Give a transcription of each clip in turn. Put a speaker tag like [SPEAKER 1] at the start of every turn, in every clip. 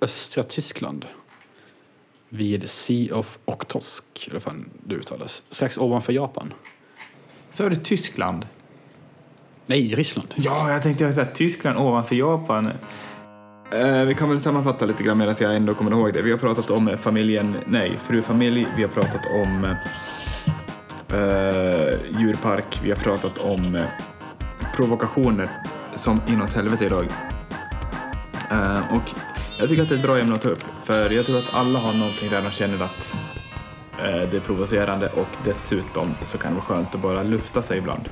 [SPEAKER 1] östra Tyskland. Vid Sea of Okhotsk, eller fan det uttalas. Strax ovanför Japan.
[SPEAKER 2] Så är det Tyskland.
[SPEAKER 1] Nej, Ryssland.
[SPEAKER 2] Ja, jag tänkte jag sa Tyskland ovanför Japan. Eh, vi kan väl sammanfatta lite grann medan jag ändå kommer ihåg det. Vi har pratat om eh, familjen, nej, frufamilj. Vi har pratat om eh, djurpark. Vi har pratat om eh, provokationer som inåt helvete idag. Eh, och jag tycker att det är ett bra ämne att ta upp. För jag tror att alla har någonting där de känner att eh, det är provocerande och dessutom så kan det vara skönt att bara lufta sig ibland.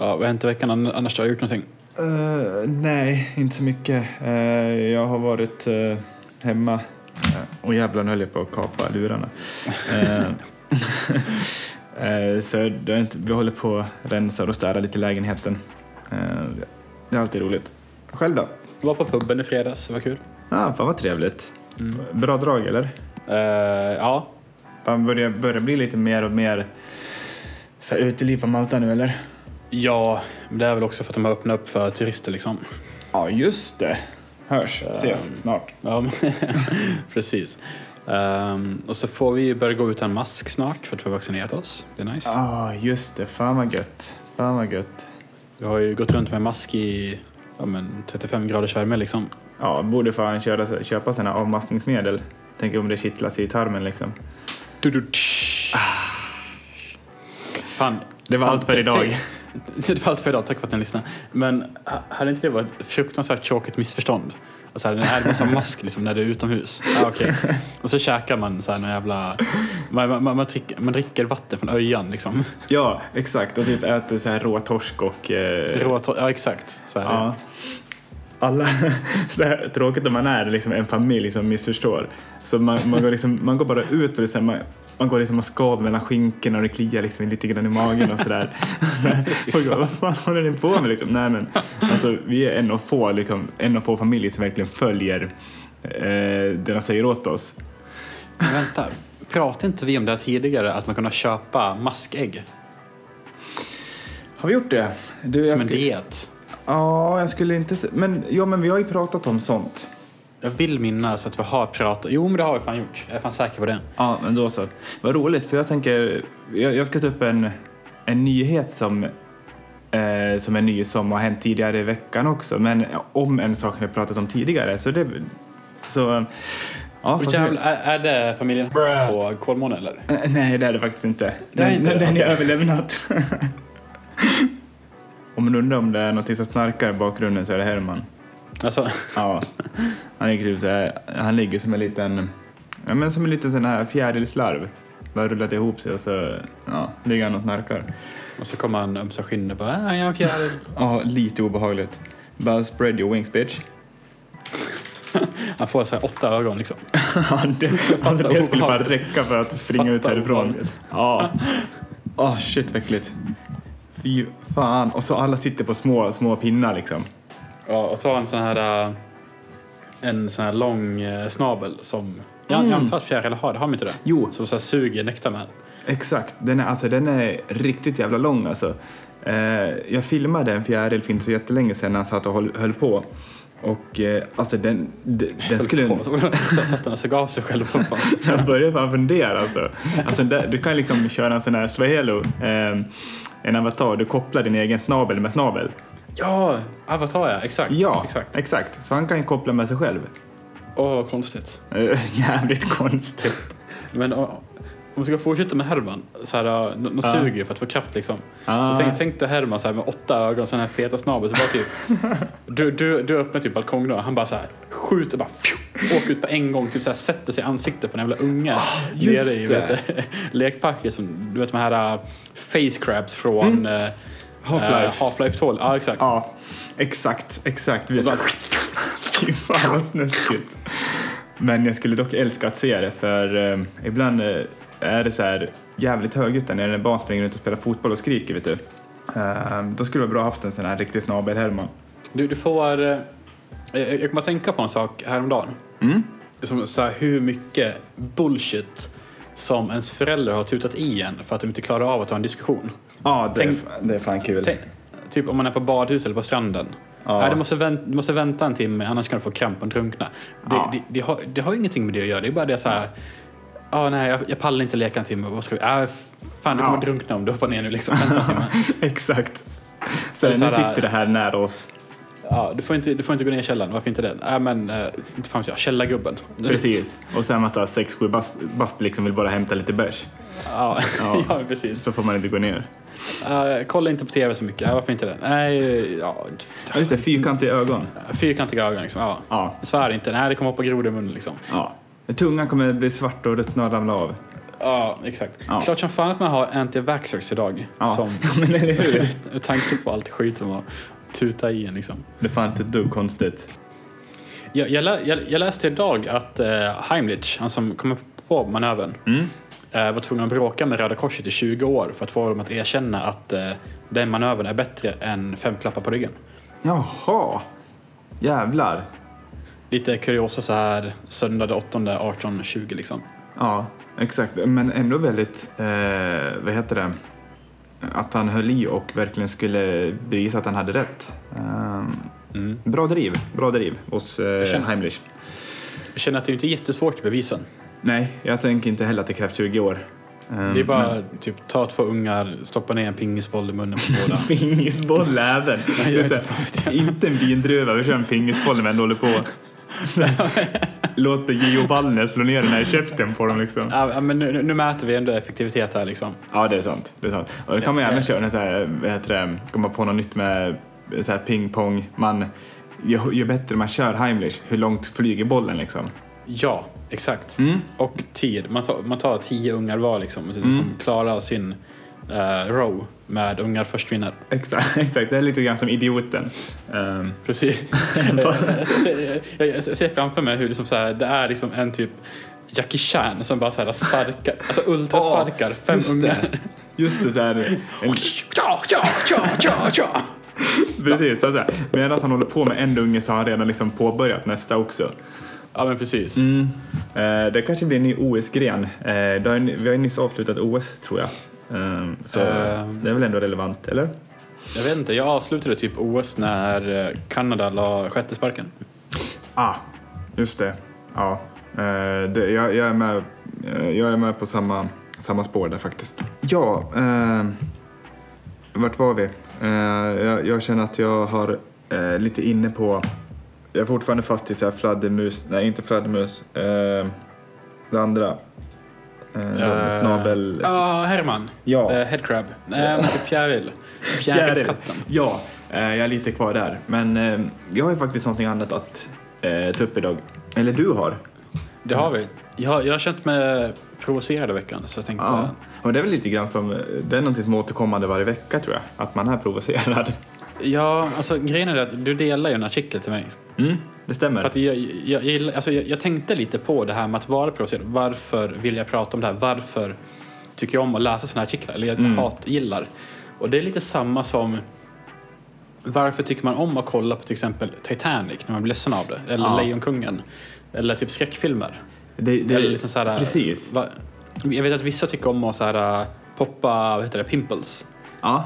[SPEAKER 1] Ja, vad har hänt i veckan Ann- annars? Har jag gjort någonting?
[SPEAKER 2] Eh, nej, inte så mycket. Eh, jag har varit eh, hemma. Eh, Och jävlar, nu höll jag på att kapa lurarna. Eh, eh, så det är inte, vi håller på att rensa och städa lite i lägenheten. Eh, det är alltid roligt. Själv då?
[SPEAKER 1] Jag var på puben i fredags, det var kul.
[SPEAKER 2] Ah, fan vad trevligt. Bra drag eller?
[SPEAKER 1] Eh, ja,
[SPEAKER 2] Fan, börjar, börjar bli lite mer och mer så här, uteliv på Malta nu eller?
[SPEAKER 1] ja, men det är väl också för att de har öppnat upp för turister liksom.
[SPEAKER 2] Ja, just det. Hörs, ses snart.
[SPEAKER 1] Ja, men- precis. Ehm, och så får vi börja gå utan mask snart för att vi har vaccinerat oss. Det är nice.
[SPEAKER 2] ah, just det. Fan vad gött. Fan vad gött.
[SPEAKER 1] Vi har ju gått runt med mask i ja, men 35 graders värme liksom.
[SPEAKER 2] Ja, borde fan köra, köpa sina avmaskningsmedel. Tänk om det kittlas i tarmen liksom.
[SPEAKER 1] Du, du, tsch. Fan.
[SPEAKER 2] Det var allt för idag.
[SPEAKER 1] Det var allt för idag, tack för att ni lyssnade. Men h- hade inte det varit ett fruktansvärt tråkigt missförstånd? Alltså, den här måste ha mask liksom, när du är utomhus. Ah, okay. Och så käkar man så här någon jävla... Man, man, man, man, dricker, man dricker vatten från öjan liksom.
[SPEAKER 2] Ja, exakt. Och typ äter så här rå torsk och... Eh,
[SPEAKER 1] Rå, to- ja, exakt. Så här.
[SPEAKER 2] Ja. Alla, så här, tråkigt om man är liksom en familj som missförstår. Så man, man, går, liksom, man går bara ut och det är så här, man, man går liksom och skaver mellan skinkorna och det kliar liksom lite grann i magen och sådär. Folk bara, vad fan håller ni på med liksom? Nej men, alltså vi är en av få, liksom, en av få familjer som verkligen följer eh, det de säger åt oss.
[SPEAKER 1] Men vänta, pratade inte vi om det här tidigare? Att man kunde köpa maskägg
[SPEAKER 2] Har vi gjort det? Du,
[SPEAKER 1] som
[SPEAKER 2] jag
[SPEAKER 1] en
[SPEAKER 2] skulle,
[SPEAKER 1] diet?
[SPEAKER 2] ja, jag skulle inte... se- Men, ja, men vi har ju pratat om sånt.
[SPEAKER 1] Jag vill minnas att vi har pratat... Jo, men det har vi fan gjort. Jag är fan säker på det.
[SPEAKER 2] Ja, men då så. Vad roligt, för jag tänker... Jag, jag ska ta upp en, en nyhet som, eh, som är ny, som har hänt tidigare i veckan också. Men om en sak vi har pratat om tidigare. Så det... Så... eh, Ja,
[SPEAKER 1] Och
[SPEAKER 2] får se.
[SPEAKER 1] jävlar, är, är det familjen
[SPEAKER 2] Bruh.
[SPEAKER 1] på Kolmården eller?
[SPEAKER 2] Eh, Nej, det är det faktiskt inte.
[SPEAKER 1] Det är
[SPEAKER 2] den,
[SPEAKER 1] inte det.
[SPEAKER 2] den är överlämnat. om man undrar om det är något som snarkar i bakgrunden så är det Herman.
[SPEAKER 1] Alltså,
[SPEAKER 2] Ja, han ligger, typ så här, han ligger som en liten, ja, men som en liten sån här fjärilslarv. Bara rullat ihop sig och så ja, ligger han och knarkar.
[SPEAKER 1] och så kommer han ömsa skinnet och bara "Ah, “Jag är en fjäril”.
[SPEAKER 2] Ja, lite obehagligt. Bara spread your wings bitch.
[SPEAKER 1] Han får så här åtta ögon liksom.
[SPEAKER 2] Ja, det, alltså, det skulle bara räcka för att springa ut
[SPEAKER 1] Fatta
[SPEAKER 2] härifrån.
[SPEAKER 1] obehagligt.
[SPEAKER 2] Ja. Oh, shit vad äckligt. Fy fan. Och så alla sitter på små, små pinnar liksom.
[SPEAKER 1] Ja, och så har han sån här... äh, En sån här lång eh, snabel som... Jag, jag
[SPEAKER 2] Mm.
[SPEAKER 1] antar att fjärilar har det, har de inte det?
[SPEAKER 2] Jo.
[SPEAKER 1] Som så här suger nektar med.
[SPEAKER 2] Exakt, den är, alltså, den är riktigt jävla lång alltså. Eh, jag filmade en fjäril för inte så jättelänge sedan när han satt och höll, höll på. Och eh, alltså den, den, den skulle...
[SPEAKER 1] Så satt han och såg av sig själv. Vad fan.
[SPEAKER 2] Jag började fan fundera alltså. alltså där, du kan liksom köra en sån här Swahelo, eh, en avatar, du kopplar din egen snabel med snabel.
[SPEAKER 1] Ja, Avatar ja, exakt.
[SPEAKER 2] Ja,
[SPEAKER 1] exakt.
[SPEAKER 2] exakt. Så han kan ju koppla med sig själv.
[SPEAKER 1] Åh, vad konstigt.
[SPEAKER 2] Eh, jävligt konstigt.
[SPEAKER 1] Men å- om vi ska fortsätta med Herman, så här, äh, de, de suger ju för att få kraft liksom.
[SPEAKER 2] Ah.
[SPEAKER 1] Och Tänk, tänk dig Herman så här, med åtta ögon och sån här feta snabel. Så bara typ, du, du, du öppnar typ balkongen och han bara så här, skjuter bara, fju, åker ut på en gång, typ så här, sätter sig i ansiktet på den jävla unga
[SPEAKER 2] Ah, just
[SPEAKER 1] i,
[SPEAKER 2] det.
[SPEAKER 1] vet du, lekparker som, du vet de här äh, face crabs från eh,
[SPEAKER 2] Mm. Half-Life.
[SPEAKER 1] eh, Half-Life 12. Ja, exakt.
[SPEAKER 2] Ja, exakt, exakt. Vi-
[SPEAKER 1] Bara-
[SPEAKER 2] Fy fan vad snuskigt. Men jag skulle dock älska att se det för eh, ibland eh, är det så här jävligt högljutt där när en barn springer runt och spelar fotboll och skriker vet du. Eh, då skulle det vara bra att haft en sån här riktig snabel-Herman.
[SPEAKER 1] Du, du får... eh, Jag, jag kommer att tänka på en sak häromdagen.
[SPEAKER 2] Mm.
[SPEAKER 1] Som, så här, hur mycket bullshit som ens föräldrar har tutat i en för att de inte klarar av att ha en diskussion.
[SPEAKER 2] Ja, det, är
[SPEAKER 1] Tänk-
[SPEAKER 2] fa- det är fan kul.
[SPEAKER 1] Tänk, typ om man är på badhus eller på stranden.
[SPEAKER 2] Ja.
[SPEAKER 1] Nej, du, måste vänta, du måste vänta en timme, annars kan du få kramp och drunkna. Det,
[SPEAKER 2] Ja.
[SPEAKER 1] det, det, har, det har ju ingenting med det att göra. Det är bara det så här... Ja, nej, jag, jag pallar inte leka en timme. Vad ska vi... Äh, fan, du
[SPEAKER 2] Ja.
[SPEAKER 1] kommer drunkna om du hoppar ner nu. Liksom. Vänta en timme.
[SPEAKER 2] Exakt. Så här,
[SPEAKER 1] Eller så
[SPEAKER 2] nu
[SPEAKER 1] här-
[SPEAKER 2] sitter det här nära oss.
[SPEAKER 1] Ja, du, får inte, du får inte gå ner i källaren. Varför inte det? Nej, men... eh, inte fan vet jag. Källargubben.
[SPEAKER 2] Precis. Och sen att 6-7 bast, bast liksom vill bara hämta lite bärs.
[SPEAKER 1] Ja,
[SPEAKER 2] Ja.
[SPEAKER 1] ja. precis.
[SPEAKER 2] Så får man inte gå ner.
[SPEAKER 1] Eh, kolla inte på tv så mycket. Ja, varför inte det? Nej, ja... inte-
[SPEAKER 2] Ja, just det, fyrkantiga ögon.
[SPEAKER 1] Fyrkantiga ögon liksom. Ja.
[SPEAKER 2] Ja.
[SPEAKER 1] Svär inte. Nej, det kommer hoppa grodor i munnen liksom.
[SPEAKER 2] ja. Tungan kommer bli svart och ruttna och ramla av.
[SPEAKER 1] Ja, exakt.
[SPEAKER 2] Ja.
[SPEAKER 1] Klart som fan att man har anti-vaxxers idag.
[SPEAKER 2] Ja.
[SPEAKER 1] Som,
[SPEAKER 2] Men eller hur?
[SPEAKER 1] med tanke på allt skit som har tutat i en liksom.
[SPEAKER 2] Det är fan inte ett dugg konstigt.
[SPEAKER 1] Jag, jag, lä, jag, jag läste idag att eh, Heimlich, han som kom på manövern,
[SPEAKER 2] Mm.
[SPEAKER 1] eh, var tvungen att bråka med Röda Korset i 20 år för att få dem att erkänna att eh, den manövern är bättre än fem klappar på ryggen.
[SPEAKER 2] Jaha. Jävlar.
[SPEAKER 1] Lite kuriosa så här söndag den 8, 18, 20 liksom.
[SPEAKER 2] Ja, exakt. Men ändå väldigt, eh, vad heter det, att han höll i och verkligen skulle bevisa att han hade rätt. Ehm,
[SPEAKER 1] Mm.
[SPEAKER 2] bra driv, bra driv hos eh,
[SPEAKER 1] känner-
[SPEAKER 2] Heimlich.
[SPEAKER 1] Jag känner att det är inte är jättesvårt att bevisa.
[SPEAKER 2] Nej, jag tänker inte heller att det krävs 20 år. Ehm,
[SPEAKER 1] Det är bara
[SPEAKER 2] men-
[SPEAKER 1] typ ta två ungar, stoppa ner en pingisboll i munnen på båda.
[SPEAKER 2] Pingisboll även.
[SPEAKER 1] Nej, jag vet
[SPEAKER 2] Utan-
[SPEAKER 1] inte fan vet jag.
[SPEAKER 2] inte en vindruva, vi kör en pingisboll när vi ändå håller på. Så här, Låter Gio Ballner slå ner den här i käften på dem liksom.
[SPEAKER 1] Ja, ja, men nu, nu- nu mäter vi ändå effektivitet här liksom.
[SPEAKER 2] Ja, det är sant. Det är sant. Och då kan man ju
[SPEAKER 1] Ja,
[SPEAKER 2] även
[SPEAKER 1] ja.
[SPEAKER 2] köra något så här, vad heter det, komma på något nytt med så här pingpong. Man, ju, ju bättre man kör Heimlich, hur långt flyger bollen liksom?
[SPEAKER 1] Ja, exakt.
[SPEAKER 2] Mm.
[SPEAKER 1] Och tid. Man tar, man tar tio ungar var liksom, som klarar sin eh, row med ungar först vinner.
[SPEAKER 2] Exakt, exakt. Det är lite grann som idioten. Ehm,
[SPEAKER 1] Precis. jag, ser- jag, jag ser framför mig hur liksom så här, det är liksom en typ Jackie Chan som bara så här sparkar, alltså ultrasparkar fem
[SPEAKER 2] just
[SPEAKER 1] ungar.
[SPEAKER 2] Det. Just det, så här, en,
[SPEAKER 1] Ja, ja, ja, ja, ja.
[SPEAKER 2] precis. Så här, medan han håller på med en unge så har han redan liksom påbörjat nästa också.
[SPEAKER 1] ja, men precis.
[SPEAKER 2] Mm. Eh, det kanske blir en ny OS-gren. Eh, det har ju ny- vi har ju nyss avslutat OS tror jag. Ehm, så
[SPEAKER 1] Ehm.
[SPEAKER 2] det är väl ändå relevant, eller?
[SPEAKER 1] Jag vet inte, jag avslutade typ OS när eh, Kanada la sjätte sparken.
[SPEAKER 2] Ah, just det. Ja, eh, det, jag, jag, är med, eh, jag är med på samma, samma spår där faktiskt. Ja, eh, vart var vi? Eh, jag, jag känner att jag har eh, lite inne på... Jag är fortfarande fast i så här fladdermus, nej inte fladdermus, eh, det andra. Eh, de
[SPEAKER 1] Eh,
[SPEAKER 2] snabel...
[SPEAKER 1] Ja, Herman.
[SPEAKER 2] Ja.
[SPEAKER 1] Eh, headcrab. Nej, men typ fjäril. Fjärilskatten.
[SPEAKER 2] Ja, eh, jag är lite kvar där. Men eh, jag har ju faktiskt någonting annat att eh, ta upp idag. Eller du har.
[SPEAKER 1] Det har vi. Jag, jag har känt mig provocerad i veckan så jag tänkte...
[SPEAKER 2] Ja. Och det är väl lite grann som, eh, det är någonting som är återkommande varje vecka tror jag, att man är provocerad.
[SPEAKER 1] Ja, alltså grejen är det att du delar ju en artikel till mig.
[SPEAKER 2] Mm, det stämmer.
[SPEAKER 1] För att jag, jag, jag, gillar- alltså, jag, jag tänkte lite på det här med att vara provocerad. Varför vill jag prata om det här? Varför tycker jag om att läsa sådana här artiklar? Eller jag hatgillar. Och det är lite samma som varför tycker man om att kolla på till exempel Titanic när man blir ledsen av det? Eller
[SPEAKER 2] Ja.
[SPEAKER 1] Lejonkungen? Eller typ skräckfilmer?
[SPEAKER 2] det, det,
[SPEAKER 1] Eller liksom så här,
[SPEAKER 2] precis.
[SPEAKER 1] Va, jag vet att vissa tycker om att så här, äh, poppa vad heter det, pimples.
[SPEAKER 2] Ja.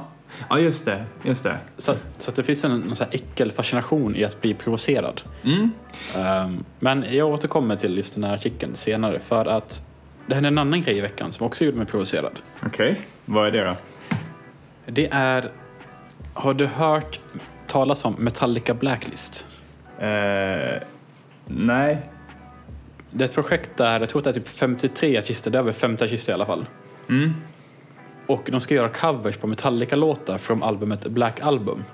[SPEAKER 2] ja, just det. Just det.
[SPEAKER 1] Så, så att det finns väl en någon så här äckelfascination i att bli provocerad.
[SPEAKER 2] Mm.
[SPEAKER 1] Ehm, men jag återkommer till just den här artikeln senare för att det hände en annan grej i veckan som också gjorde mig provocerad.
[SPEAKER 2] Okej, vad är det då?
[SPEAKER 1] Det är, har du hört talas om Metallica Blacklist?
[SPEAKER 2] Eh, nej.
[SPEAKER 1] Det är ett projekt där, jag tror att det är typ 53 artister, det är över 50 artister i alla fall.
[SPEAKER 2] Mm.
[SPEAKER 1] Och de ska göra covers på Metallica-låtar från albumet Black Album.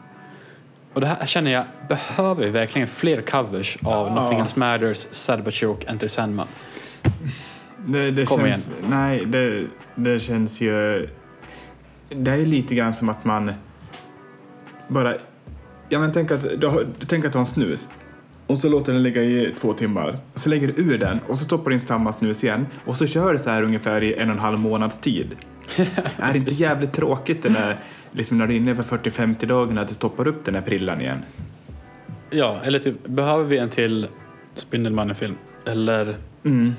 [SPEAKER 1] Och det här känner jag, behöver vi verkligen fler covers av Nothing Else Matters, Sad But True och Enter Sandman?
[SPEAKER 2] Det, det
[SPEAKER 1] Kom
[SPEAKER 2] känns, Nej, det, det känns ju... Det är ju lite grann som att man bara... Ja, men tänk att du, har, tänk att du har en snus och så låter den ligga i två timmar. Så lägger du ur den och så stoppar du in samma snus igen och så kör du så här ungefär i en och en halv månads tid. är det inte jävligt tråkigt den här, liksom när du är inne för 40-50 dagarna att du stoppar upp den här prillan igen?
[SPEAKER 1] Ja, eller typ, behöver vi en till Spindelmannen-film? Eller
[SPEAKER 2] Mm.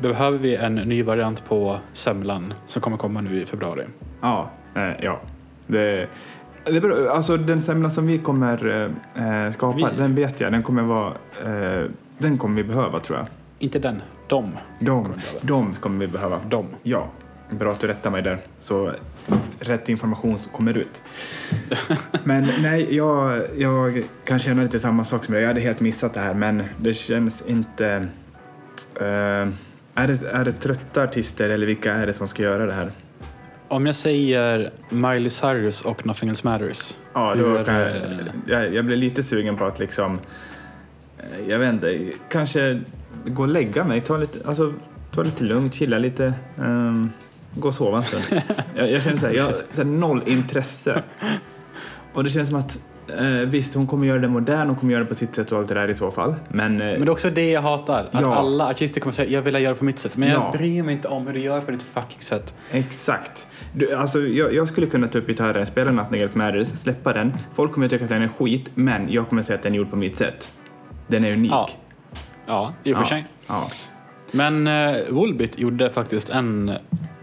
[SPEAKER 1] behöver vi en ny variant på Semlan som kommer komma nu i februari?
[SPEAKER 2] Ja, eh, ja. Det, Det beror, alltså den semla som vi kommer eh, skapa,
[SPEAKER 1] Vi?
[SPEAKER 2] den vet jag, den kommer vara, eh, den kommer vi behöva tror jag.
[SPEAKER 1] Inte den, de.
[SPEAKER 2] De, de kommer vi behöva.
[SPEAKER 1] De.
[SPEAKER 2] Ja, bra att du rättar mig där. Så rätt information kommer ut. Men nej, jag, jag kan känna lite samma sak som dig. Jag hade helt missat det här, men det känns inte... eh, är, det, är det trötta artister eller vilka är det som ska göra det här?
[SPEAKER 1] Om jag säger Miley Cyrus och Nothing Else Matters.
[SPEAKER 2] Ja, då
[SPEAKER 1] Hur,
[SPEAKER 2] kan jag,
[SPEAKER 1] eh,
[SPEAKER 2] jag, jag blir lite sugen på att liksom, eh, jag vet inte, kanske gå och lägga mig, ta lite, alltså, ta lite lugnt, chilla lite, ehm, gå och sova en stund. jag, jag känner så här, jag har så här, noll intresse. Och det känns som att eh, visst, hon kommer göra det modern, hon kommer göra det på sitt sätt och allt det där i så fall. Men, eh,
[SPEAKER 1] Men det är också det jag hatar. Att
[SPEAKER 2] Ja.
[SPEAKER 1] alla artister kommer säga jag vill göra det på mitt sätt. Men jag
[SPEAKER 2] Ja.
[SPEAKER 1] bryr mig inte om hur du gör på ditt fucking sätt.
[SPEAKER 2] Exakt. Du, alltså, jag, jag skulle kunna ta upp gitarren, spela Nothing Else Matters, släppa den. Folk kommer tycka att den är skit, men jag kommer säga att den är gjord på mitt sätt. Den är unik.
[SPEAKER 1] Ja. Ja, i och för
[SPEAKER 2] Ja.
[SPEAKER 1] sig.
[SPEAKER 2] Ja.
[SPEAKER 1] Men uh, Woolbit gjorde faktiskt en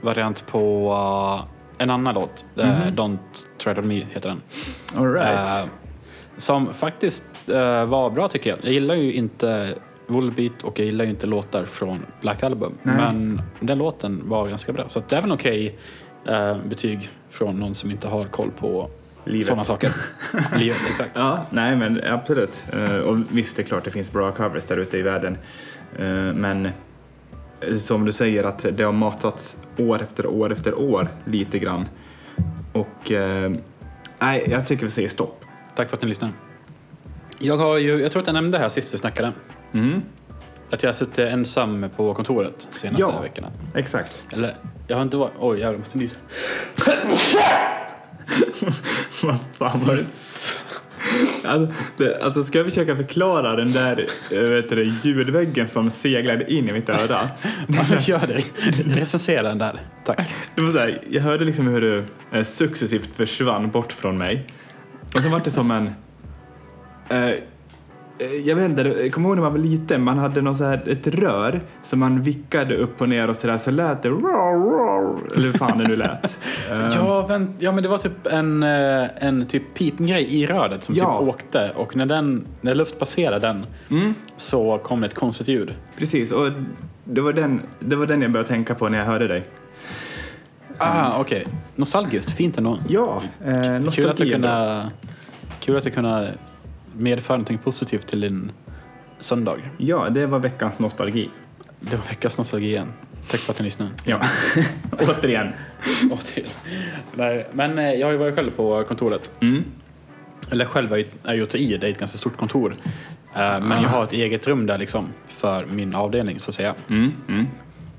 [SPEAKER 1] variant på eh, en annan låt. Eh,
[SPEAKER 2] Mhm.
[SPEAKER 1] Don't Tread On Me heter den.
[SPEAKER 2] All right.
[SPEAKER 1] Eh, som faktiskt eh, var bra tycker jag. Jag gillar ju inte Woolbeat och jag gillar ju inte låtar från Black Album.
[SPEAKER 2] Nej.
[SPEAKER 1] Men den låten var ganska bra. Så att det är väl en okej eh, betyg från någon som inte har koll på
[SPEAKER 2] Livet.
[SPEAKER 1] sådana saker. Livet, exakt.
[SPEAKER 2] Ja, nej men absolut. Eh, Och visst, det är klart det finns bra covers där ute i världen. Eh, Men eh, som du säger att det har matats år efter år efter år lite grann. Och eh, nej, jag tycker vi säger stopp.
[SPEAKER 1] Tack för att ni lyssnade. Jag, har ju, jag tror att jag nämnde här sist vi snackade.
[SPEAKER 2] Mm,
[SPEAKER 1] Att jag har suttit ensam på kontoret senaste
[SPEAKER 2] Ja.
[SPEAKER 1] veckorna.
[SPEAKER 2] exakt.
[SPEAKER 1] Eller, jag har inte varit... Oj, jävlar, jag måste nysa.
[SPEAKER 2] Vad fan var det? Alltså, det, alltså ska jag försöka förklara den där eh, vet du, det, ljudväggen som seglade in i mitt öra?
[SPEAKER 1] Varför gör det? Recensera den där. Tack.
[SPEAKER 2] Det var så här, jag hörde liksom hur du eh, successivt försvann bort från mig. Och sen var det som en... Eh, eh, jag vet inte, det- kommer ihåg när man var liten? Man hade någon så här, ett rör som man vickade upp och ner och så där så lät det... Eller hur fan det nu lät. Eh,
[SPEAKER 1] Ja, vänt, ja, men det var typ en, eh, en typ pipgrej i röret som
[SPEAKER 2] Ja.
[SPEAKER 1] typ åkte och när, den, när luft passerade den
[SPEAKER 2] Mm,
[SPEAKER 1] så kom ett konstigt ljud.
[SPEAKER 2] precis, och det var, den, det var den jag började tänka på när jag hörde dig.
[SPEAKER 1] Ah, okej. Nostalgiskt, fint ändå.
[SPEAKER 2] Ja, eh,
[SPEAKER 1] Kul att,
[SPEAKER 2] nostalgi
[SPEAKER 1] du
[SPEAKER 2] ändå.
[SPEAKER 1] kunna, kul att du kunna medföra någonting positivt till din söndag.
[SPEAKER 2] Ja, det var veckans nostalgi.
[SPEAKER 1] Det var veckans nostalgi igen. Tack för att ni lyssnade.
[SPEAKER 2] Ja. Återigen.
[SPEAKER 1] Och till. Nej, men eh, jag har ju varit själv på kontoret.
[SPEAKER 2] Mm.
[SPEAKER 1] Eller själv är ju- är ju att i, det är ett ganska stort kontor. Eh, Men
[SPEAKER 2] Ah.
[SPEAKER 1] jag har ett eget rum där liksom för min avdelning så att säga.
[SPEAKER 2] Mm. Mm.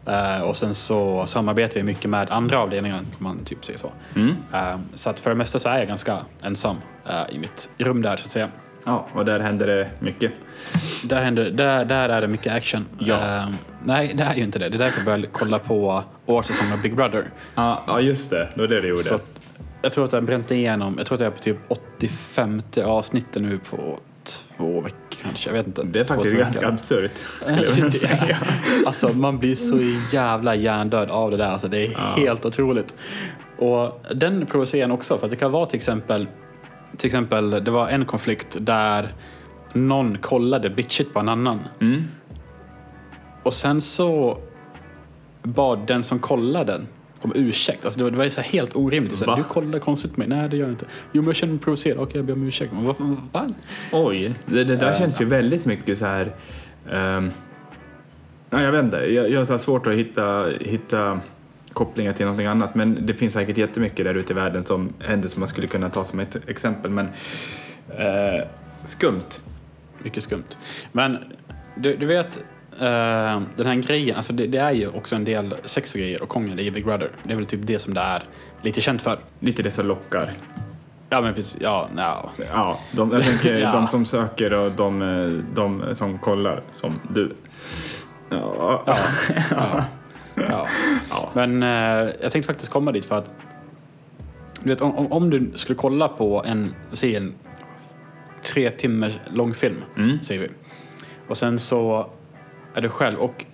[SPEAKER 1] Eh, och sen så samarbetar jag mycket med andra avdelningar, om man typ säger så.
[SPEAKER 2] Mm.
[SPEAKER 1] Eh, så att för det mesta så är jag ganska ensam eh, i mitt rum där, så att säga.
[SPEAKER 2] Ja, och där hände det mycket.
[SPEAKER 1] Där, händer, där, där är det mycket action.
[SPEAKER 2] Ja.
[SPEAKER 1] Eh, nej, det är ju inte det. Det är därför jag började kolla på årets säsong av Big Brother.
[SPEAKER 2] Ja, ja just det. Det var det du gjorde.
[SPEAKER 1] Så att, jag tror att jag har bränt igenom, jag tror att jag är på typ 85 avsnittet nu på två veckor kanske. Jag vet inte.
[SPEAKER 2] det är
[SPEAKER 1] Två,
[SPEAKER 2] faktiskt
[SPEAKER 1] tre
[SPEAKER 2] ganska
[SPEAKER 1] veckor.
[SPEAKER 2] absurt, skulle jag vilja säga.
[SPEAKER 1] Alltså man blir så jävla hjärndöd av det där. Alltså, det är helt otroligt. Och den provocerar en också för att det kan vara till exempel, till exempel det var en konflikt där någon kollade bitchigt på en annan.
[SPEAKER 2] Mm.
[SPEAKER 1] Och sen så bad den som kollade om ursäkt. Alltså det var, det var ju så här helt orimligt. Så här,
[SPEAKER 2] Va?
[SPEAKER 1] du kollar konstigt på mig. Nej, det gör jag inte. Jo, men jag känner mig provocerad. Okej, jag ber om ursäkt. Men vad, vad, vad?
[SPEAKER 2] Oj. Det, det där
[SPEAKER 1] Eh,
[SPEAKER 2] känns ju väldigt mycket så här... ehm, ja, jag vet inte. Jag, jag har så här svårt att hitta, hitta kopplingar till någonting annat. Men det finns säkert jättemycket där ute i världen som händer som man skulle kunna ta som ett exempel. Men eh, skumt.
[SPEAKER 1] Mycket skumt. Men du, du vet, eh, den här grejen, alltså det, det är ju också en del sex och grejer och kongel i Big Brother. Det är väl typ det som det är lite känt för.
[SPEAKER 2] Lite det som lockar.
[SPEAKER 1] Ja, men precis. Ja, no.
[SPEAKER 2] Ja, de, jag tänker
[SPEAKER 1] Ja.
[SPEAKER 2] de som söker och de, eh, de som kollar, som du. Ja.
[SPEAKER 1] Ja. ja, ja.
[SPEAKER 2] Ja.
[SPEAKER 1] Men eh, jag tänkte faktiskt komma dit för att du vet, om, om- om du skulle kolla på en, säg en tre timmar lång film,
[SPEAKER 2] Mm.
[SPEAKER 1] säger vi. Och sen så är du själv och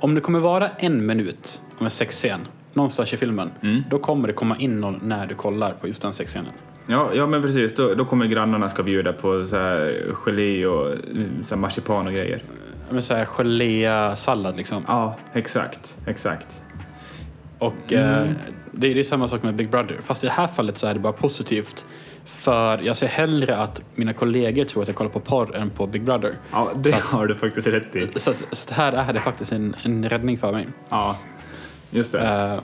[SPEAKER 1] om det kommer vara en minut om en sexscen någonstans i filmen,
[SPEAKER 2] Mm.
[SPEAKER 1] då kommer det komma in någon när du kollar på just den sexscenen.
[SPEAKER 2] Ja, ja men precis. Då, då kommer grannarna ska bjuda på så här gelé och mm, så här marsipan och grejer.
[SPEAKER 1] Men så här gelé-sallad liksom.
[SPEAKER 2] Ja, exakt. Exakt.
[SPEAKER 1] Och eh, det, är- det är samma sak med Big Brother. Fast i det här fallet så är det bara positivt. För jag ser hellre att mina kollegor tror att jag kollar på porr än på Big Brother.
[SPEAKER 2] Ja, det
[SPEAKER 1] Så att-
[SPEAKER 2] har du faktiskt rätt i.
[SPEAKER 1] Så, att, så att här är det faktiskt en, en räddning för mig.
[SPEAKER 2] Ja, just det.
[SPEAKER 1] Eh,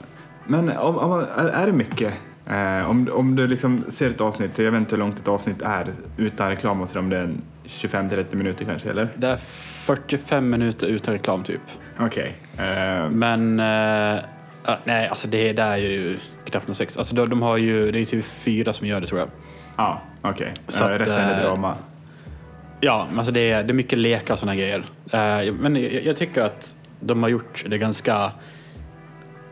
[SPEAKER 2] Men om, om, man- är, är det mycket? Eh, om, om du liksom ser ett avsnitt, jag vet inte hur långt ett avsnitt är utan reklam och sådär, om det är en 25-30 minuter kanske, eller?
[SPEAKER 1] det är 45 minuter utan reklam typ.
[SPEAKER 2] Okej. Eh,
[SPEAKER 1] Men eh, ja, nej, alltså det där är ju knappt någon sex. Alltså de, de har ju, det är typ fyra som gör det tror jag.
[SPEAKER 2] Ja, okej.
[SPEAKER 1] Så
[SPEAKER 2] Eh,
[SPEAKER 1] att,
[SPEAKER 2] resten är
[SPEAKER 1] eh,
[SPEAKER 2] drama.
[SPEAKER 1] Ja, men alltså det, är, det är mycket lekar och sådana grejer. Eh, men jag, jag tycker att de har gjort det ganska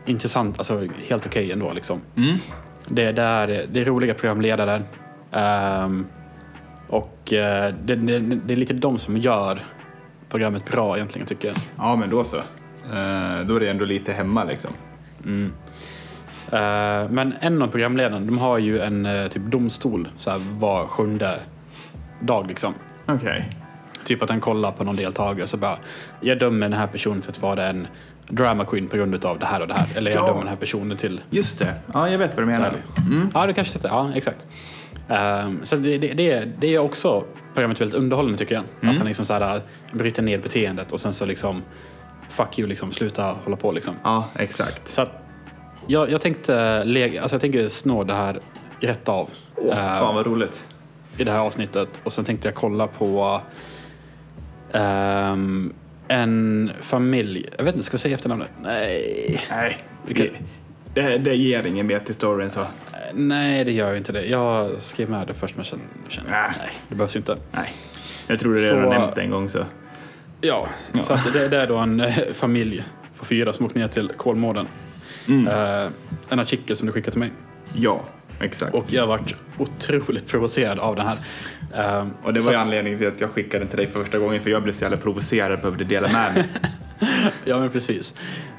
[SPEAKER 1] intressant, alltså helt okej ändå. Liksom. Det, är där, det är roliga programledare. ehm, och eh, det, det, det är lite de som gör programmet bra egentligen tycker jag.
[SPEAKER 2] Ja, men då så. Eh, då är det ändå lite hemma liksom.
[SPEAKER 1] Eh, men en av programledarna, de har ju en eh, typ domstol så här, var sjunde dag liksom.
[SPEAKER 2] Okej.
[SPEAKER 1] Typ att han kollar på någon deltagare så bara, jag dömer den här personen till att vara en drama queen på grund av det här och det här. Eller jag
[SPEAKER 2] Ja.
[SPEAKER 1] dömer den här personen till...
[SPEAKER 2] Just det. Ja, jag vet vad du
[SPEAKER 1] det
[SPEAKER 2] menar.
[SPEAKER 1] här.
[SPEAKER 2] Mm.
[SPEAKER 1] Ja, du kanske sett det. Ja, exakt. Ehm, så det, det, det, det är också programmet väldigt underhållande tycker jag.
[SPEAKER 2] Mm.
[SPEAKER 1] Att han liksom så här, bryter ner beteendet och sen så liksom, fuck you, liksom, sluta hålla på liksom.
[SPEAKER 2] Ja, exakt.
[SPEAKER 1] Så att, jag, jag tänkte lega, alltså jag tänker snå det här rätt av.
[SPEAKER 2] Åh,
[SPEAKER 1] Ehm,
[SPEAKER 2] fan vad roligt.
[SPEAKER 1] i det här avsnittet och sen tänkte jag kolla på ehm, en familj. Jag vet inte, ska vi säga efternamnet? Nej.
[SPEAKER 2] Nej,
[SPEAKER 1] Okej.
[SPEAKER 2] det, det ger ingen mer till storyn så.
[SPEAKER 1] Nej, det gör ju inte det. Jag skrev med det först men kände, kände
[SPEAKER 2] Ah.
[SPEAKER 1] nej, det behövs inte.
[SPEAKER 2] Nej. Jag tror du
[SPEAKER 1] Så-
[SPEAKER 2] redan har nämnt det en gång så.
[SPEAKER 1] Ja, så att det, det är då en eh, familj på fyra som åkt ner till Kolmården.
[SPEAKER 2] Mm.
[SPEAKER 1] Eh, en artikel som du skickade till mig.
[SPEAKER 2] Ja, exakt.
[SPEAKER 1] Och jag varit otroligt provocerad av den här. Ehm,
[SPEAKER 2] Och det
[SPEAKER 1] så
[SPEAKER 2] var ju
[SPEAKER 1] att-
[SPEAKER 2] anledningen till att jag skickade den till dig första gången för jag blev så jävla provocerad på att du delade med mig.
[SPEAKER 1] Ja, men precis.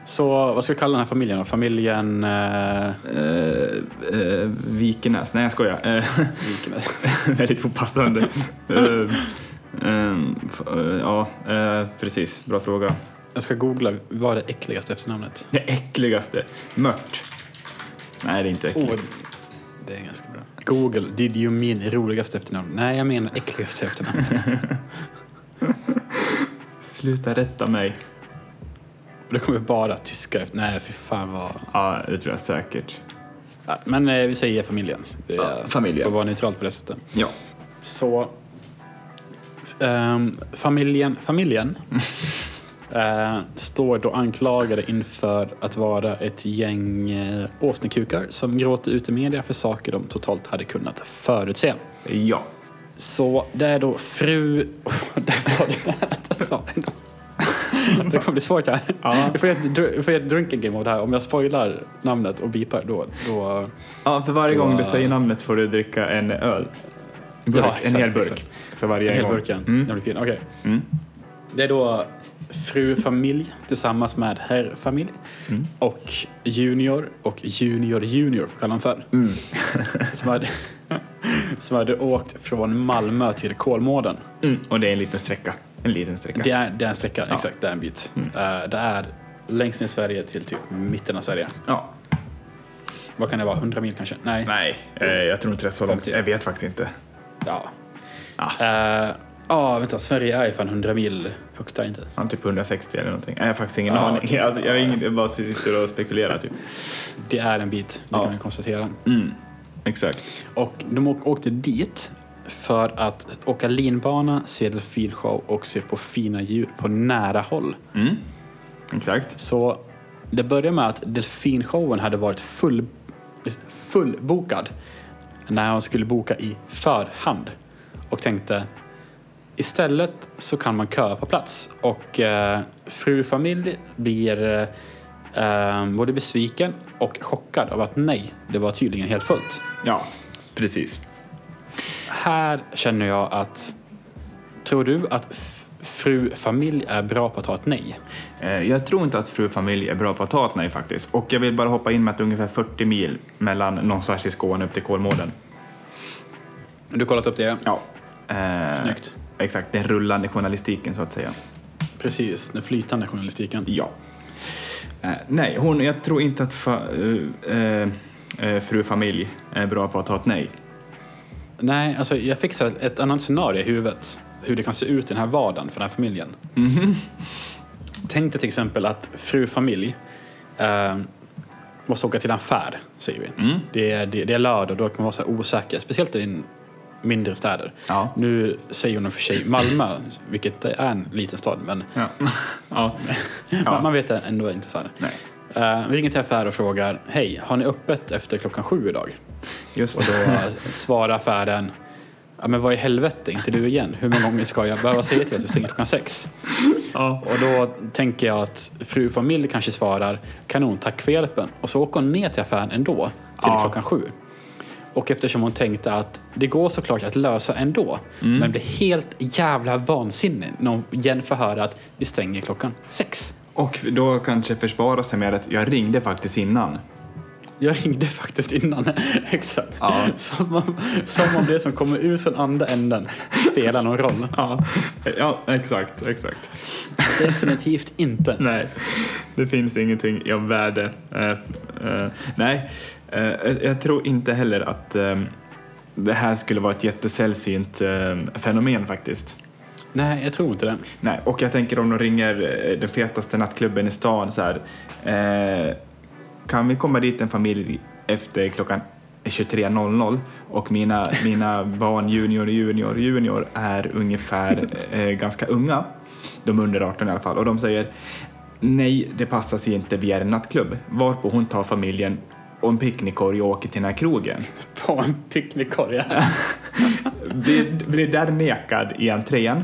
[SPEAKER 1] Så vad ska vi kalla den här familjen då? Familjen... Eh,
[SPEAKER 2] Eh, eh, Vikenäs. Nej jag skojar. Eh,
[SPEAKER 1] Vikenäs.
[SPEAKER 2] väldigt opassande. Eh, ehm, f- eh, Ja, eh, precis. Bra fråga.
[SPEAKER 1] Jag ska googla vad är det äckligaste efternamnet.
[SPEAKER 2] Det äckligaste. Mört. Nej det är inte äckligt.
[SPEAKER 1] Oh, det är ganska bra. Google, did you mean roligaste efternamn? Nej, jag menar äckligaste efternamn.
[SPEAKER 2] Sluta rätta mig.
[SPEAKER 1] Det kommer bara tyska efter. Nej, fy fan vad...
[SPEAKER 2] Ja, det tror jag säkert.
[SPEAKER 1] Ja, Men eh, vi säger familjen. Det är-
[SPEAKER 2] Ja, familjen.
[SPEAKER 1] Får vara neutralt på det sättet.
[SPEAKER 2] Ja.
[SPEAKER 1] Så... ehm, familjen familjen eh, står då anklagade inför att vara ett gäng eh, åsnekukar som gråter ut i media för saker de totalt hade kunnat förutse.
[SPEAKER 2] Ja.
[SPEAKER 1] Så det är då fru... Där var det jag sa. Det kommer bli svårt här.
[SPEAKER 2] Ja.
[SPEAKER 1] Du får göra ett dr- du får göra ett drinking game av det här. Om jag spoilar namnet och beepar då... då...
[SPEAKER 2] Ja, för varje gång du
[SPEAKER 1] Wow.
[SPEAKER 2] säger namnet får du dricka en öl. En burk,
[SPEAKER 1] Ja,
[SPEAKER 2] en
[SPEAKER 1] exakt,
[SPEAKER 2] hel burk.
[SPEAKER 1] exakt.
[SPEAKER 2] För varje
[SPEAKER 1] Hela
[SPEAKER 2] gång.
[SPEAKER 1] burken.
[SPEAKER 2] Mm.
[SPEAKER 1] Den blir fin. Okej.
[SPEAKER 2] Mm.
[SPEAKER 1] Det är då fru familj tillsammans med herr familj
[SPEAKER 2] Mm.
[SPEAKER 1] och junior och junior junior får kalla honom för.
[SPEAKER 2] Mm.
[SPEAKER 1] som, hade, som hade åkt från Malmö till Kolmården.
[SPEAKER 2] Mm. Och det är en liten sträcka. En liten sträcka. Mm.
[SPEAKER 1] Det är, det är en sträcka, exakt. Det är en bit. Eh, det är längst ner i Sverige till typ mitten av Sverige.
[SPEAKER 2] Ja.
[SPEAKER 1] Vad kan det vara? 100 mil kanske? Nej.
[SPEAKER 2] Nej, eh, jag tror inte det är så långt.
[SPEAKER 1] 50.
[SPEAKER 2] Jag vet faktiskt inte.
[SPEAKER 1] Ja.
[SPEAKER 2] Ja.
[SPEAKER 1] Eh, ah, vänta. Sverige är ju fan 100 mil högt där inte.
[SPEAKER 2] Han typ 160 eller någonting. Nej, jag har faktiskt ingen
[SPEAKER 1] Ja,
[SPEAKER 2] aning.
[SPEAKER 1] okej.
[SPEAKER 2] Alltså, jag, har ingen, jag bara sitter och spekulerar typ.
[SPEAKER 1] Det är en bit, det
[SPEAKER 2] Ja. Mm.
[SPEAKER 1] kan vi konstatera.
[SPEAKER 2] Exakt.
[SPEAKER 1] Och de åk- åkte dit för att åka linbana, se delfinshow och se på fina djur på nära håll.
[SPEAKER 2] Exakt.
[SPEAKER 1] Så det började med att delfinshowen hade varit full, fullbokad när hon skulle boka i förhand och tänkte istället så kan man köa på plats och eh, fru familj blir eh, både besviken och chockad av att nej, det var tydligen helt fullt.
[SPEAKER 2] Ja, precis.
[SPEAKER 1] Här känner jag att tror du att f- fru familj är bra på att ta ett nej?
[SPEAKER 2] Eh, Jag tror inte att fru familj är bra på att ta ett nej faktiskt. Och jag vill bara hoppa in med att det är ungefär 40 mil mellan någonstans i Skåne upp till Kolmården.
[SPEAKER 1] Du har kollat upp det?
[SPEAKER 2] Ja. Eh,
[SPEAKER 1] Snyggt.
[SPEAKER 2] Exakt, den rullande journalistiken så att säga.
[SPEAKER 1] Precis, den flytande journalistiken.
[SPEAKER 2] Ja. Eh, nej, hon, jag tror inte att fa, eh, eh, eh, fru familj är bra på att ta ett nej.
[SPEAKER 1] Nej, alltså jag fick så här ett annat scenario i huvudet. Hur det kan se ut i den här vardagen för den här familjen.
[SPEAKER 2] Mm-hmm.
[SPEAKER 1] Tänk dig till exempel att fru familj eh, måste åka till en affär, säger vi.
[SPEAKER 2] Mm.
[SPEAKER 1] Det, är, det, det är lördag och då kan man vara så här osäker, speciellt i mindre städer.
[SPEAKER 2] Ja.
[SPEAKER 1] Nu säger hon i och för sig Malmö, vilket är en liten stad, men
[SPEAKER 2] Ja. ja.
[SPEAKER 1] man, man vet ändå inte. Så här.
[SPEAKER 2] Nej.
[SPEAKER 1] Eh, vi ringer till affären och frågar, hej, har ni öppet efter klockan sju idag?
[SPEAKER 2] Just
[SPEAKER 1] Och då svarar affären Ja, men vad i helvete, inte du igen. Hur många gånger ska jag behöva säga till att du stänger klockan sex?
[SPEAKER 2] Ja.
[SPEAKER 1] Och då tänker jag att fru familj kanske svarar kanon, tack för hjälpen. Och så åker hon ner till affären ändå, till
[SPEAKER 2] Ja.
[SPEAKER 1] klockan sju. Och eftersom hon tänkte att det går såklart att lösa ändå,
[SPEAKER 2] Mm.
[SPEAKER 1] men blir helt jävla vansinnig när hon igen får höra att vi stänger klockan sex.
[SPEAKER 2] Och då kanske försvara sig med att jag ringde faktiskt innan.
[SPEAKER 1] Jag ringde faktiskt innan. Exakt.
[SPEAKER 2] Ja.
[SPEAKER 1] Som, om, som om det som kommer ut från andra änden spelar någon roll.
[SPEAKER 2] Ja, ja exakt, exakt.
[SPEAKER 1] Definitivt inte.
[SPEAKER 2] Nej, det finns ingenting av värde. Eh, eh, nej, eh, jag tror inte heller att eh, det här skulle vara ett jättesällsynt eh, fenomen faktiskt.
[SPEAKER 1] Nej, jag tror inte det.
[SPEAKER 2] Nej, och jag tänker om de ringer eh, den fetaste nattklubben i stan så här. Eh, kan vi komma dit en familj efter klockan 23.00 och mina, mina barn junior, junior, junior är ungefär eh, ganska unga. De är under 18 i alla fall och de säger nej, det passar sig inte, vi är en nattklubb. Varpå hon tar familjen och en picknickkorg och åker till den här krogen.
[SPEAKER 1] På en picknickkorg.
[SPEAKER 2] blir, blir där nekad i entrén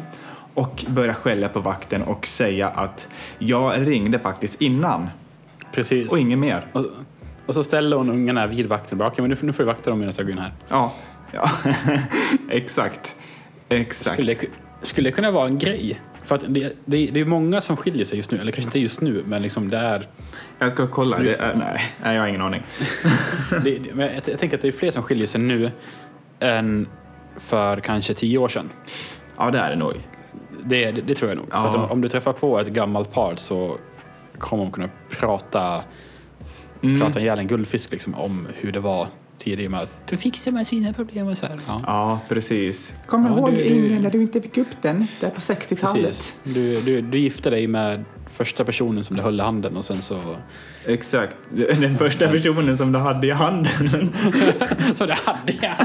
[SPEAKER 2] och börjar skälla på vakten och säga att jag ringde faktiskt innan
[SPEAKER 1] Precis.
[SPEAKER 2] och inget mer.
[SPEAKER 1] Och, och så ställer hon ungarna vid vakten. Bara, "Okej, men nu, får- nu får du vakta dem medan jag går in här.
[SPEAKER 2] Ja, ja. exakt. Exakt.
[SPEAKER 1] Skulle, skulle det kunna vara en grej? För att det, det, det är många som skiljer sig just nu. Eller kanske inte just nu, men liksom det är...
[SPEAKER 2] Jag ska kolla. Det är, nej, nej, jag har ingen aning.
[SPEAKER 1] Det, det, men jag, jag tänker att det är fler som skiljer sig nu än för kanske tio år sedan.
[SPEAKER 2] Ja, det är det nog.
[SPEAKER 1] Det, det, det tror jag nog.
[SPEAKER 2] Ja.
[SPEAKER 1] För att om, om du träffar på ett gammalt par så kommer de kunna prata, prata ihjäl en guldfisk liksom, om hur det var tidigare med att du fixar med sina problem och så här. Ja.
[SPEAKER 2] Ja, precis. Kommer
[SPEAKER 1] Ja, ihåg du- du- ingen när
[SPEAKER 2] du inte fick upp den där på
[SPEAKER 1] Precis. Du, du, du gifte dig med första personen som du höll i handen och sen så...
[SPEAKER 2] Exakt. Den första personen som du hade i handen.
[SPEAKER 1] Så det hade jag!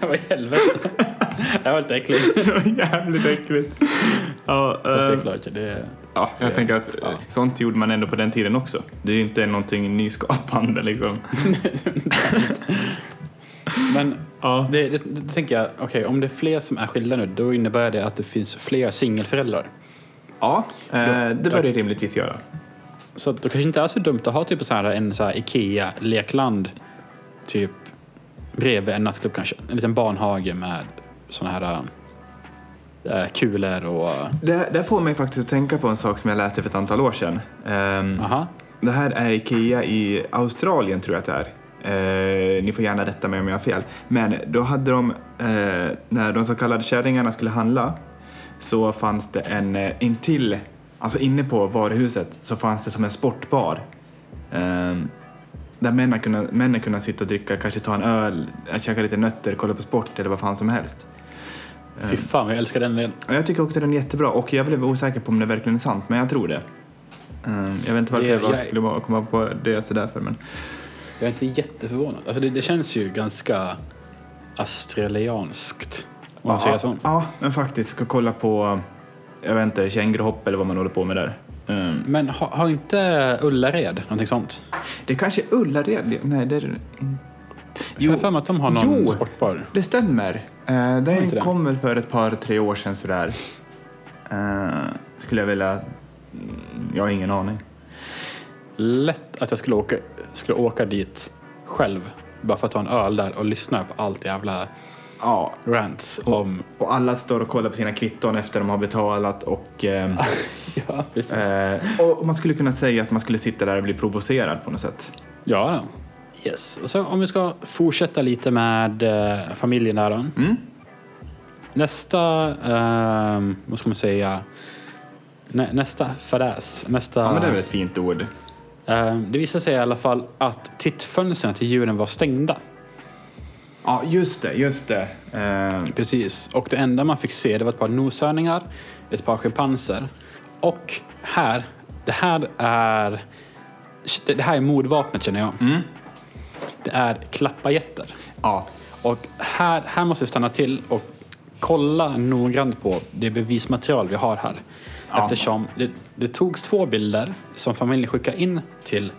[SPEAKER 1] Vad i helvete? Det var lite äckligt.
[SPEAKER 2] Så jävligt äckligt. Ja,
[SPEAKER 1] Fast det
[SPEAKER 2] eh,
[SPEAKER 1] är klart, det...
[SPEAKER 2] Ja, jag
[SPEAKER 1] Det-
[SPEAKER 2] tänker att
[SPEAKER 1] ja.
[SPEAKER 2] eh, sånt gjorde man ändå på den tiden också. Det är ju inte någonting nyskapande liksom.
[SPEAKER 1] Men
[SPEAKER 2] Ja,
[SPEAKER 1] det, det, det tänker jag, okej, om det är fler som är skilda nu, då innebär det att det finns fler singelföräldrar.
[SPEAKER 2] ja eh, det bör det rimligtvis göra.
[SPEAKER 1] Så att då kanske inte är så dumt att ha typ så här en så här Ikea-lekland typ bredvid en nattklubb kanske. En liten barnhage med såna här äh, kulor och...
[SPEAKER 2] Det, det här får mig faktiskt att tänka på en sak som jag läste för ett antal år sedan. Ehm,
[SPEAKER 1] Aha.
[SPEAKER 2] Det här är Ikea i Australien tror jag att det är. Eh, ni får gärna rätta mig om jag har fel. Men då hade de, eh, när de så kallade kärringarna skulle handla så fanns det en eh, intill, alltså inne på varuhuset så fanns det som en sportbar. Ehm, där männen kunde, männen kunde sitta och dricka, kanske ta en öl, eh, käka lite nötter, kolla på sport eller vad fan som helst. Ehm, Mm.
[SPEAKER 1] Fy fan, jag älskar den delen.
[SPEAKER 2] Och jag tycker också den är jättebra och jag blev osäker på om det verkligen är sant men jag tror det. Ehm, jag vet inte varför
[SPEAKER 1] Det-
[SPEAKER 2] jag, bara
[SPEAKER 1] jag-
[SPEAKER 2] skulle bara komma på det sådär för men.
[SPEAKER 1] Jag är inte jätteförvånad. Alltså det, det känns ju ganska australianskt. Om man säger så.
[SPEAKER 2] Ja, men faktiskt. Ska kolla på, jag vet inte, känguruhopp eller vad man håller på med där. Mm.
[SPEAKER 1] Men har har inte Ullared någonting sånt?
[SPEAKER 2] Det kanske är Ullared? Nej, det är det inte.
[SPEAKER 1] Jo. Jag har för mig att de har någon
[SPEAKER 2] Jo.
[SPEAKER 1] sportbar.
[SPEAKER 2] Det stämmer. Eh, den
[SPEAKER 1] inte det?
[SPEAKER 2] kom väl för ett par, tre år sedan sådär. Eh, skulle jag vilja... Mm, Jag har ingen aning.
[SPEAKER 1] lätt att jag skulle åka, skulle åka dit själv bara för att ta en öl där och lyssna på allt jävla
[SPEAKER 2] Ja,
[SPEAKER 1] rants om...
[SPEAKER 2] och alla står och kollar på sina kvitton efter de har betalat och... ehm,
[SPEAKER 1] Ja, precis.
[SPEAKER 2] eh, och man skulle kunna säga att man skulle sitta där och bli provocerad på något sätt.
[SPEAKER 1] Ja, Yes. Och så om vi ska fortsätta lite med eh, familjen där då.
[SPEAKER 2] Mm.
[SPEAKER 1] Nästa, ehm, vad ska man säga, Nä, nästa fadäs. Nästa,
[SPEAKER 2] Ja, men det är väl ett fint ord.
[SPEAKER 1] ehm, det visade sig i alla fall att tittfönstren till djuren var stängda.
[SPEAKER 2] Ja, just det, just det. Eh,
[SPEAKER 1] Precis. Och det enda man fick se det var ett par noshörningar, ett par schimpanser. Och här, det här är... shit, Det här är mordvapnet känner jag.
[SPEAKER 2] Mm.
[SPEAKER 1] Det är klappajätter.
[SPEAKER 2] ja,
[SPEAKER 1] Och här, här måste vi stanna till och kolla noggrant på det bevismaterial vi har här.
[SPEAKER 2] Ja.
[SPEAKER 1] Eftersom det, det togs två bilder som familjen skickade in till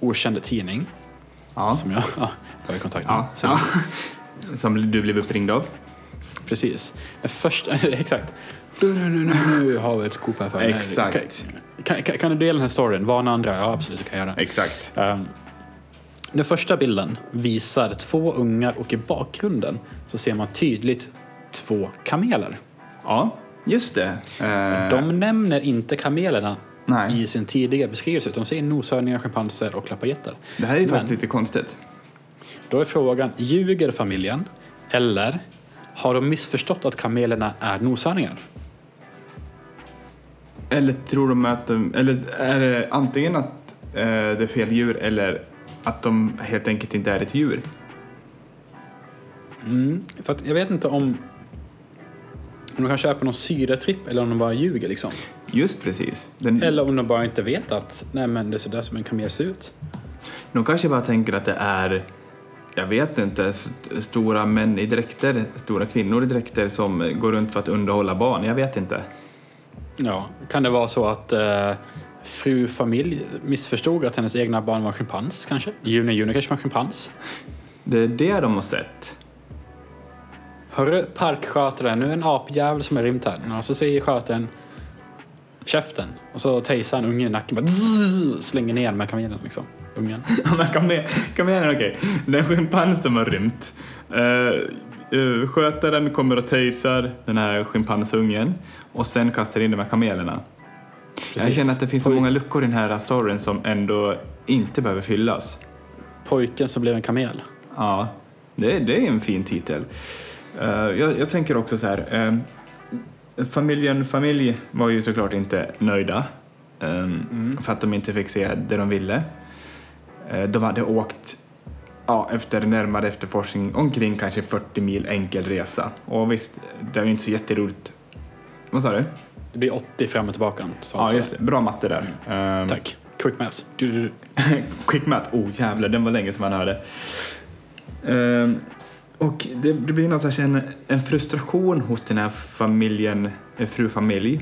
[SPEAKER 1] okänd tidning.
[SPEAKER 2] ja.
[SPEAKER 1] Som jag ja, var i kontakt med.
[SPEAKER 2] Ja,
[SPEAKER 1] Så-
[SPEAKER 2] ja. Som du blev uppringd av.
[SPEAKER 1] Precis. Den första, exakt. Nu, nu, nu, nu, nu har vi ett scoop här för mig.
[SPEAKER 2] Exakt.
[SPEAKER 1] Kan- Kan, kan, kan du dela den här storyn? Varna andra? Ja, absolut, det kan jag göra.
[SPEAKER 2] Exakt.
[SPEAKER 1] Ehm, den första bilden visar två ungar och i bakgrunden så ser man tydligt två kameler.
[SPEAKER 2] Ja, just det. Eh,
[SPEAKER 1] De nämner inte kamelerna
[SPEAKER 2] Nej.
[SPEAKER 1] i sin tidiga beskrivelse utan de säger noshörningar, schimpanser och klappagetter.
[SPEAKER 2] Det här är ju
[SPEAKER 1] Men-
[SPEAKER 2] faktiskt lite konstigt.
[SPEAKER 1] Då är frågan, ljuger familjen eller har de missförstått att kamelerna är noshörningar?
[SPEAKER 2] Eller tror de att de... Eller är det antingen att eh, det är fel djur eller att de helt enkelt inte är ett djur?
[SPEAKER 1] Mm, för att jag vet inte om, om de kanske är på någon syretripp eller om de bara ljuger. Liksom.
[SPEAKER 2] Just precis. Den,
[SPEAKER 1] Eller om de bara inte vet att nej, men det är sådär som en kamel ser ut.
[SPEAKER 2] De kanske bara tänker att det är, jag vet inte, st- stora män i dräkter, stora kvinnor i dräkter som går runt för att underhålla barn. Jag vet inte.
[SPEAKER 1] Ja, kan det vara så att eh, fru familj missförstod att hennes egna barn var schimpans kanske? Juni Juni kanske var schimpans?
[SPEAKER 2] Det är det de har sett.
[SPEAKER 1] Hörru parkskötaren, nu är det en apjävel som har rymt här. Ja, så säger skötaren käften och så tejsar han ungen i nacken bara zzz, slänger ner med kamelen liksom. Ungen.
[SPEAKER 2] Men kom igen, kom igen, okej. Det är en schimpans som har rymt. Eh, eh, skötaren kommer och töjsar den här schimpansungen och sen kastar in de här kamelerna. Jag
[SPEAKER 1] Precis.
[SPEAKER 2] känner att det finns så
[SPEAKER 1] Poj-
[SPEAKER 2] många luckor i den här storyn som ändå inte behöver fyllas.
[SPEAKER 1] Pojken som blev en kamel.
[SPEAKER 2] Ja, det, det är en fin titel. Eh, jag, jag tänker också så här. eh, familjen Familj var ju såklart inte nöjda eh, för att de inte fick se det de ville. Eh, de hade åkt ja, efter närmare efterforskning omkring kanske 40 mil enkel resa. Och visst, det är ju inte så jätteroligt. Vad sa du?
[SPEAKER 1] Det blir 80 fram och tillbaka totalt.
[SPEAKER 2] Ja,
[SPEAKER 1] sett.
[SPEAKER 2] just det. Bra matte där. Eh,
[SPEAKER 1] Tack. Quick maths. Du, du, du.
[SPEAKER 2] Quick Math, oh jävlar, den var länge som man hörde. Ehm, och det, det blir någon slags en, en frustration hos den här familjen, eh, fru familj,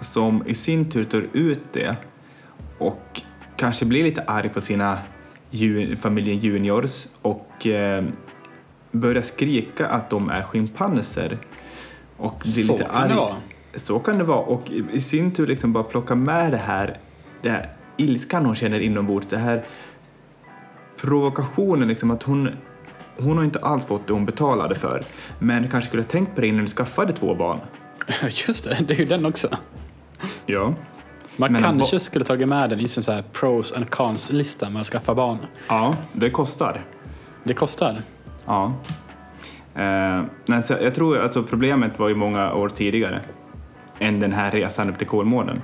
[SPEAKER 2] som i sin tur tar ut det och kanske blir lite arg på sina ju, familjen juniors och ehm, börjar skrika att de är schimpanser. Och blir
[SPEAKER 1] Så
[SPEAKER 2] lite
[SPEAKER 1] kan
[SPEAKER 2] arg.
[SPEAKER 1] det vara.
[SPEAKER 2] Så kan det vara. Och i, i sin tur liksom bara plocka med det här, det här ilskan hon känner inombords, det här provokationen liksom att hon hon har inte alls fått det hon betalade för, men kanske skulle ha tänkt på det innan du skaffade två barn.
[SPEAKER 1] Just det, det är ju den också.
[SPEAKER 2] Ja.
[SPEAKER 1] Man
[SPEAKER 2] Men en
[SPEAKER 1] kanske skulle tagit med den i sin så här pros and cons-lista med att skaffa barn.
[SPEAKER 2] Ja, det kostar.
[SPEAKER 1] Det kostar.
[SPEAKER 2] Ja. Eh, men så jag tror alltså problemet var ju många år tidigare än den här resan upp till Kolmården.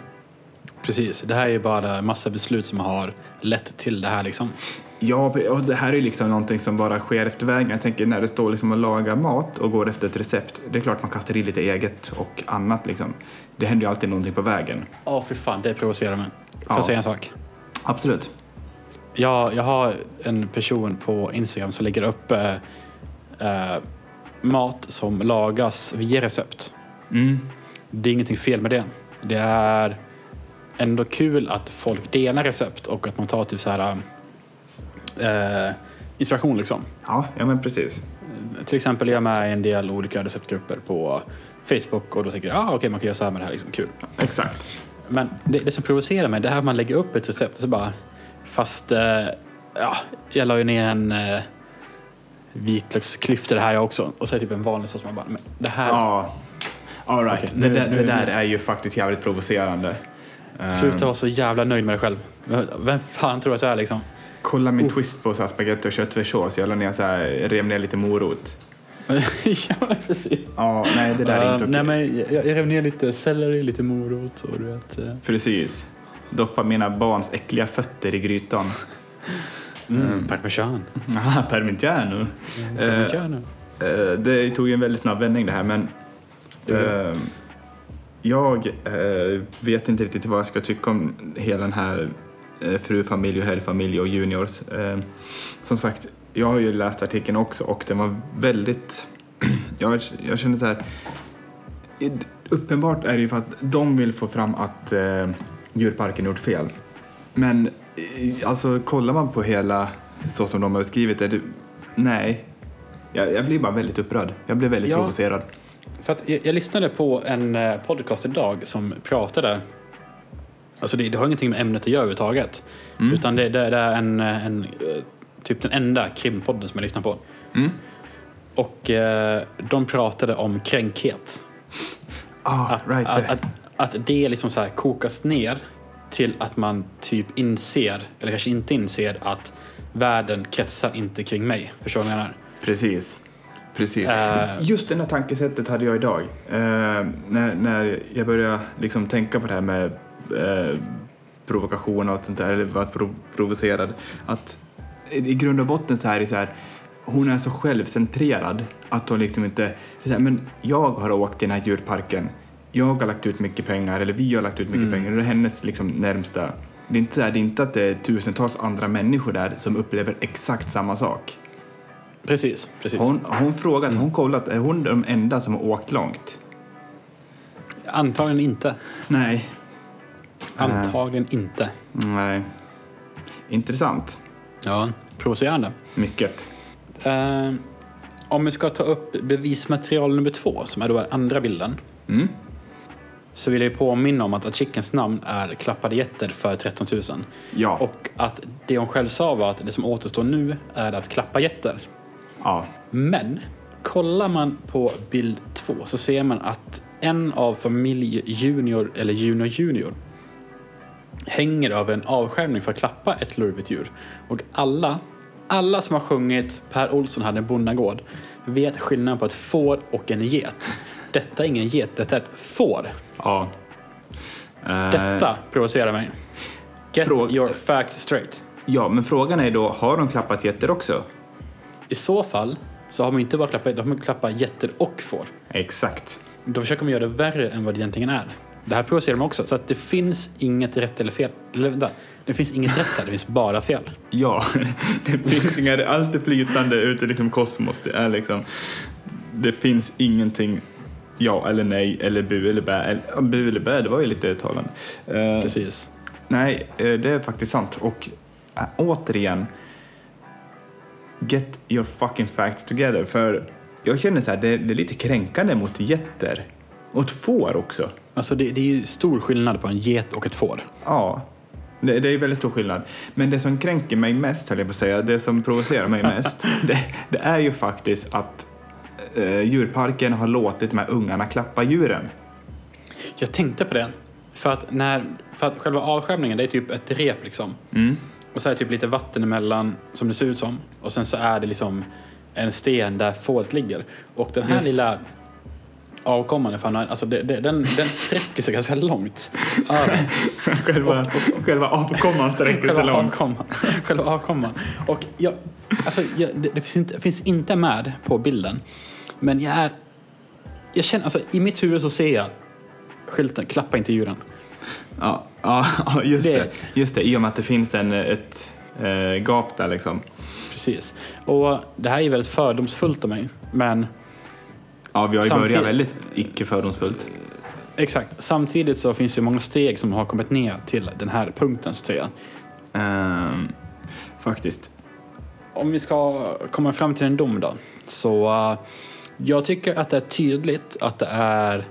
[SPEAKER 1] Precis, det här är ju bara massa beslut som har lett till det här liksom.
[SPEAKER 2] Ja, och det här är ju liksom någonting som bara sker efter vägen. Jag tänker när det står liksom och lagar mat och går efter ett recept, det är klart man kastar i lite eget och annat liksom. Det händer ju alltid någonting på vägen.
[SPEAKER 1] Åh fy fan, det provocerar mig. Får jag
[SPEAKER 2] Ja.
[SPEAKER 1] säga en sak?
[SPEAKER 2] Absolut.
[SPEAKER 1] Jag, jag har en person på Instagram som lägger upp eh, eh, mat som lagas via recept.
[SPEAKER 2] Mm.
[SPEAKER 1] Det är ingenting fel med det. Det är ändå kul att folk delar recept och att man tar typ så här eh, inspiration liksom.
[SPEAKER 2] Ja, ja men precis.
[SPEAKER 1] Till exempel är jag med i en del olika receptgrupper på Facebook och då tänker jag ah, okej man kan göra så här med det här, liksom kul.
[SPEAKER 2] Exakt.
[SPEAKER 1] Men det, det som provocerar mig det är att man lägger upp ett recept och så bara fast eh, ja, jag la ju ner en eh, vitlöksklyfta i det här jag också och så är det typ en vanlig sås man bara men det här
[SPEAKER 2] Ja. All right.
[SPEAKER 1] Okej,
[SPEAKER 2] det,
[SPEAKER 1] nu-
[SPEAKER 2] där-
[SPEAKER 1] nu-
[SPEAKER 2] det där är ju faktiskt jävligt provocerande. Eh,
[SPEAKER 1] Sluta vara så jävla nöjd med dig själv. Vem fan tror att jag är liksom?
[SPEAKER 2] kolla min twist på så här spagetti och köttfärssås. Jag la ner så här, rev ner lite morot.
[SPEAKER 1] ja, men precis.
[SPEAKER 2] Ja, nej det där är
[SPEAKER 1] Eh,
[SPEAKER 2] inte okej.
[SPEAKER 1] nej, men jag, jag rev ner lite selleri, lite morot och du vet. eh,
[SPEAKER 2] Precis. Doppa mina barns äckliga fötter i grytan.
[SPEAKER 1] Mm, parmesan.
[SPEAKER 2] Ah, Parmigiano.
[SPEAKER 1] Mm.
[SPEAKER 2] Eh,
[SPEAKER 1] Parmigiano.
[SPEAKER 2] Eh, det tog ju en väldigt snabb vändning det här men
[SPEAKER 1] Gjorde
[SPEAKER 2] eh, jag eh, vet inte riktigt vad jag ska tycka om hela den här eh, frufamilj och helgfamilj och juniors. Eh, som sagt, jag har ju läst artikeln också och den var väldigt... jag, jag kände så här... i- Uppenbart är det ju för att de vill få fram att eh, djurparken gjort fel. Men eh, alltså kollar man på hela så som de har skrivit det, det nej. Jag, jag blir bara väldigt upprörd. Jag blir väldigt
[SPEAKER 1] Ja.
[SPEAKER 2] provocerad.
[SPEAKER 1] För att jag, jag lyssnade på en eh, podcast idag som pratade, alltså det, det har ingenting med ämnet att göra överhuvudtaget,
[SPEAKER 2] Mm.
[SPEAKER 1] utan det, det, det är en, eh, en, eh, typ den enda krimpodden som jag lyssnar på.
[SPEAKER 2] Mm.
[SPEAKER 1] Och eh, de pratade om kränkhet.
[SPEAKER 2] Ah,
[SPEAKER 1] Att,
[SPEAKER 2] right.
[SPEAKER 1] att, att, att det liksom så här kokas ner till att man typ inser, eller kanske inte inser, att världen kretsar inte kring mig. Förstår du vad jag menar?
[SPEAKER 2] Precis. Precis.
[SPEAKER 1] Eh.
[SPEAKER 2] Just det här tankesättet hade jag idag. Eh, när, när jag började liksom tänka på det här med eh, provokation och allt sånt där, eller vara prov- provocerad. Att i i grund och botten så här är så här, hon är så självcentrerad att hon liksom inte, så här, men jag har åkt till den här djurparken, jag har lagt ut mycket pengar, eller vi har lagt ut mycket pengar, det är hennes liksom närmsta. Det är, inte så här, det är inte att det är tusentals andra människor där som upplever exakt samma sak.
[SPEAKER 1] Precis, precis.
[SPEAKER 2] Hon, hon frågat, hon kollat, är hon de enda som har åkt långt?
[SPEAKER 1] Antagligen
[SPEAKER 2] Äh.
[SPEAKER 1] inte.
[SPEAKER 2] Nej.
[SPEAKER 1] Antagligen inte.
[SPEAKER 2] Nej. Intressant.
[SPEAKER 1] Ja. Provocerande.
[SPEAKER 2] Mycket.
[SPEAKER 1] Eh, om vi ska ta upp bevismaterial nummer två, som är då andra bilden,
[SPEAKER 2] Mm.
[SPEAKER 1] så vill jag påminna om att artikelns namn är Klappade getter för 13 000.
[SPEAKER 2] Ja.
[SPEAKER 1] Och att det hon själv sa var att det som återstår nu är att klappa getter.
[SPEAKER 2] ja.
[SPEAKER 1] Men kollar man på bild två så ser man att en av familj Junior, eller Junior Junior, hänger över en avskärmning för att klappa ett lurvigt djur. Och alla, alla som har sjungit Per Olsson hade en bondagård vet skillnaden på ett får och en get. Detta är ingen get, detta är ett får.
[SPEAKER 2] ja. Eh,
[SPEAKER 1] Detta provocerar mig. Get
[SPEAKER 2] Fråga-
[SPEAKER 1] your facts straight.
[SPEAKER 2] Ja, men frågan är då, har de klappat getter också?
[SPEAKER 1] I så fall så har man inte bara klappat, då har man klappat getter och får.
[SPEAKER 2] Exakt.
[SPEAKER 1] Då försöker man göra det värre än vad det egentligen är. Det här provocerar mig också. Så att det finns inget rätt eller fel. Eller vänta, det finns inget rätt här, det finns bara fel.
[SPEAKER 2] Ja, det finns inga, allt är flytande ute i liksom kosmos. Det är liksom, det finns ingenting ja eller nej eller bu eller bä. Eller, ja, bu eller bä, det var ju lite talande. Eh,
[SPEAKER 1] Precis.
[SPEAKER 2] Nej, eh, det är faktiskt sant. Och äh, återigen, get your fucking facts together. För jag känner så här, det, det är lite kränkande mot getter. Och ett får också.
[SPEAKER 1] Alltså det, det är ju stor skillnad på en get och ett får.
[SPEAKER 2] Ja, det, det är väldigt stor skillnad. Men det som kränker mig mest, höll jag på att säga, det som provocerar mig mest, det, det är ju faktiskt att eh, djurparken har låtit de här ungarna klappa djuren.
[SPEAKER 1] Jag tänkte på det. För att, när, för att själva avskärmningen, det är typ ett rep liksom.
[SPEAKER 2] Mm.
[SPEAKER 1] Och så är det typ lite vatten emellan, som det ser ut som. Och sen så är det liksom en sten där fåret ligger. Och den här
[SPEAKER 2] Just.
[SPEAKER 1] lilla avkomman, ifall han- alltså det, det, den, den sträcker sig ganska långt. Över.
[SPEAKER 2] själva själva apkomman sträcker sig
[SPEAKER 1] Själva
[SPEAKER 2] långt.
[SPEAKER 1] avkomman. Själva avkomman. Och jag, alltså, jag, det, det finns inte, finns inte med på bilden. Men jag är... Jag känner, alltså, I mitt huvud så ser jag skylten Klappa inte djuren.
[SPEAKER 2] Ja, ja ja, just, det.
[SPEAKER 1] Det-
[SPEAKER 2] just det. I och med att det finns en, ett eh, gap där liksom.
[SPEAKER 1] Precis. Och det här är väldigt fördomsfullt av mig. Men
[SPEAKER 2] Ja, vi har ju
[SPEAKER 1] Samtidigt-
[SPEAKER 2] börjat väldigt icke fördomsfullt.
[SPEAKER 1] exakt. Samtidigt så finns det ju många steg som har kommit ner till den här punkten så att säga.
[SPEAKER 2] Ehm, faktiskt.
[SPEAKER 1] Om vi ska komma fram till en dom då. Så eh, jag tycker att det är tydligt att det är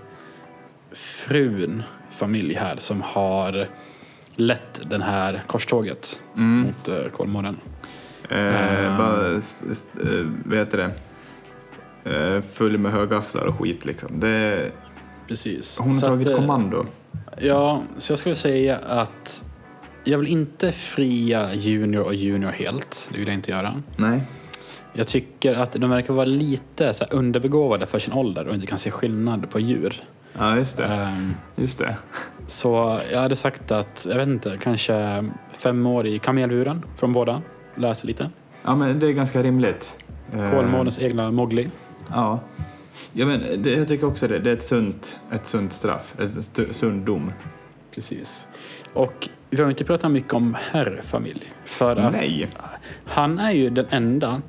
[SPEAKER 1] frun familj här som har lett den här korståget
[SPEAKER 2] Mm.
[SPEAKER 1] mot uh, Kolmården. Ehm.
[SPEAKER 2] Uh, bara, s- s- eh, vad heter det? Eh, full med högafflar och skit liksom. Det,
[SPEAKER 1] Precis.
[SPEAKER 2] hon har
[SPEAKER 1] Så
[SPEAKER 2] tagit
[SPEAKER 1] att, eh,
[SPEAKER 2] kommando.
[SPEAKER 1] Ja, så jag skulle säga att jag vill inte fria Junior och Junior helt. Det vill jag inte göra.
[SPEAKER 2] Nej.
[SPEAKER 1] Jag tycker att de verkar vara lite så här, underbegåvade för sin ålder och inte kan se skillnad på djur.
[SPEAKER 2] Ja, just det.
[SPEAKER 1] Ehm,
[SPEAKER 2] Just det.
[SPEAKER 1] så jag hade sagt att, jag vet inte, kanske fem år i kamelburen från båda. Lära sig lite.
[SPEAKER 2] Ja, men det är ganska rimligt. Eh,
[SPEAKER 1] Kolmårdens egna Mowgli.
[SPEAKER 2] Ja. ja men det, jag tycker också det. Det är ett sunt, ett sunt straff. Ett stu, sund dom.
[SPEAKER 1] Precis. Och vi har ju inte pratat mycket om herrfamilj. För att
[SPEAKER 2] Nej.
[SPEAKER 1] han är ju den enda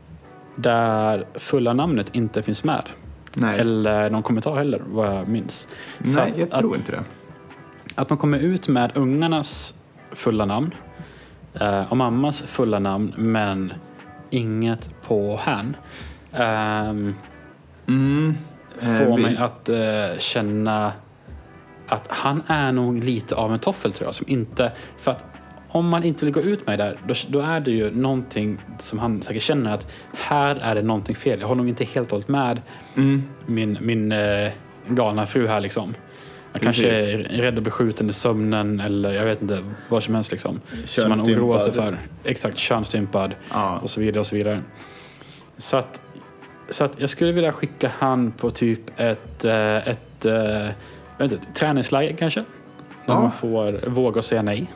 [SPEAKER 1] där fulla namnet inte finns med.
[SPEAKER 2] Nej,
[SPEAKER 1] Eller någon kommentar heller, vad jag minns. Så
[SPEAKER 2] Nej
[SPEAKER 1] att-
[SPEAKER 2] jag
[SPEAKER 1] att,
[SPEAKER 2] tror inte det.
[SPEAKER 1] Att de kommer ut med ungarnas fulla namn eh, och mammas fulla namn, men inget på hän. Ehm,
[SPEAKER 2] Mm. Eh,
[SPEAKER 1] får
[SPEAKER 2] vi-
[SPEAKER 1] mig att eh, känna att han är nog lite av en toffel tror jag. Som inte, för att om man inte vill gå ut med det där, då, då är det ju någonting som han säkert känner att här är det någonting fel. Jag har nog inte helt hållit med
[SPEAKER 2] Mm.
[SPEAKER 1] min, min eh, galna fru här liksom. Jag
[SPEAKER 2] Precis.
[SPEAKER 1] kanske är rädd att bli skjuten i sömnen eller jag vet inte vad som helst liksom. Som man oroar sig för. Exakt, könsstympad
[SPEAKER 2] Ja.
[SPEAKER 1] och så vidare och så vidare. Så att, så att jag skulle vilja skicka han på typ ett, eh, ett, eh, jag vet inte, ett träningsläger kanske? Där
[SPEAKER 2] Ja.
[SPEAKER 1] man får våga säga nej.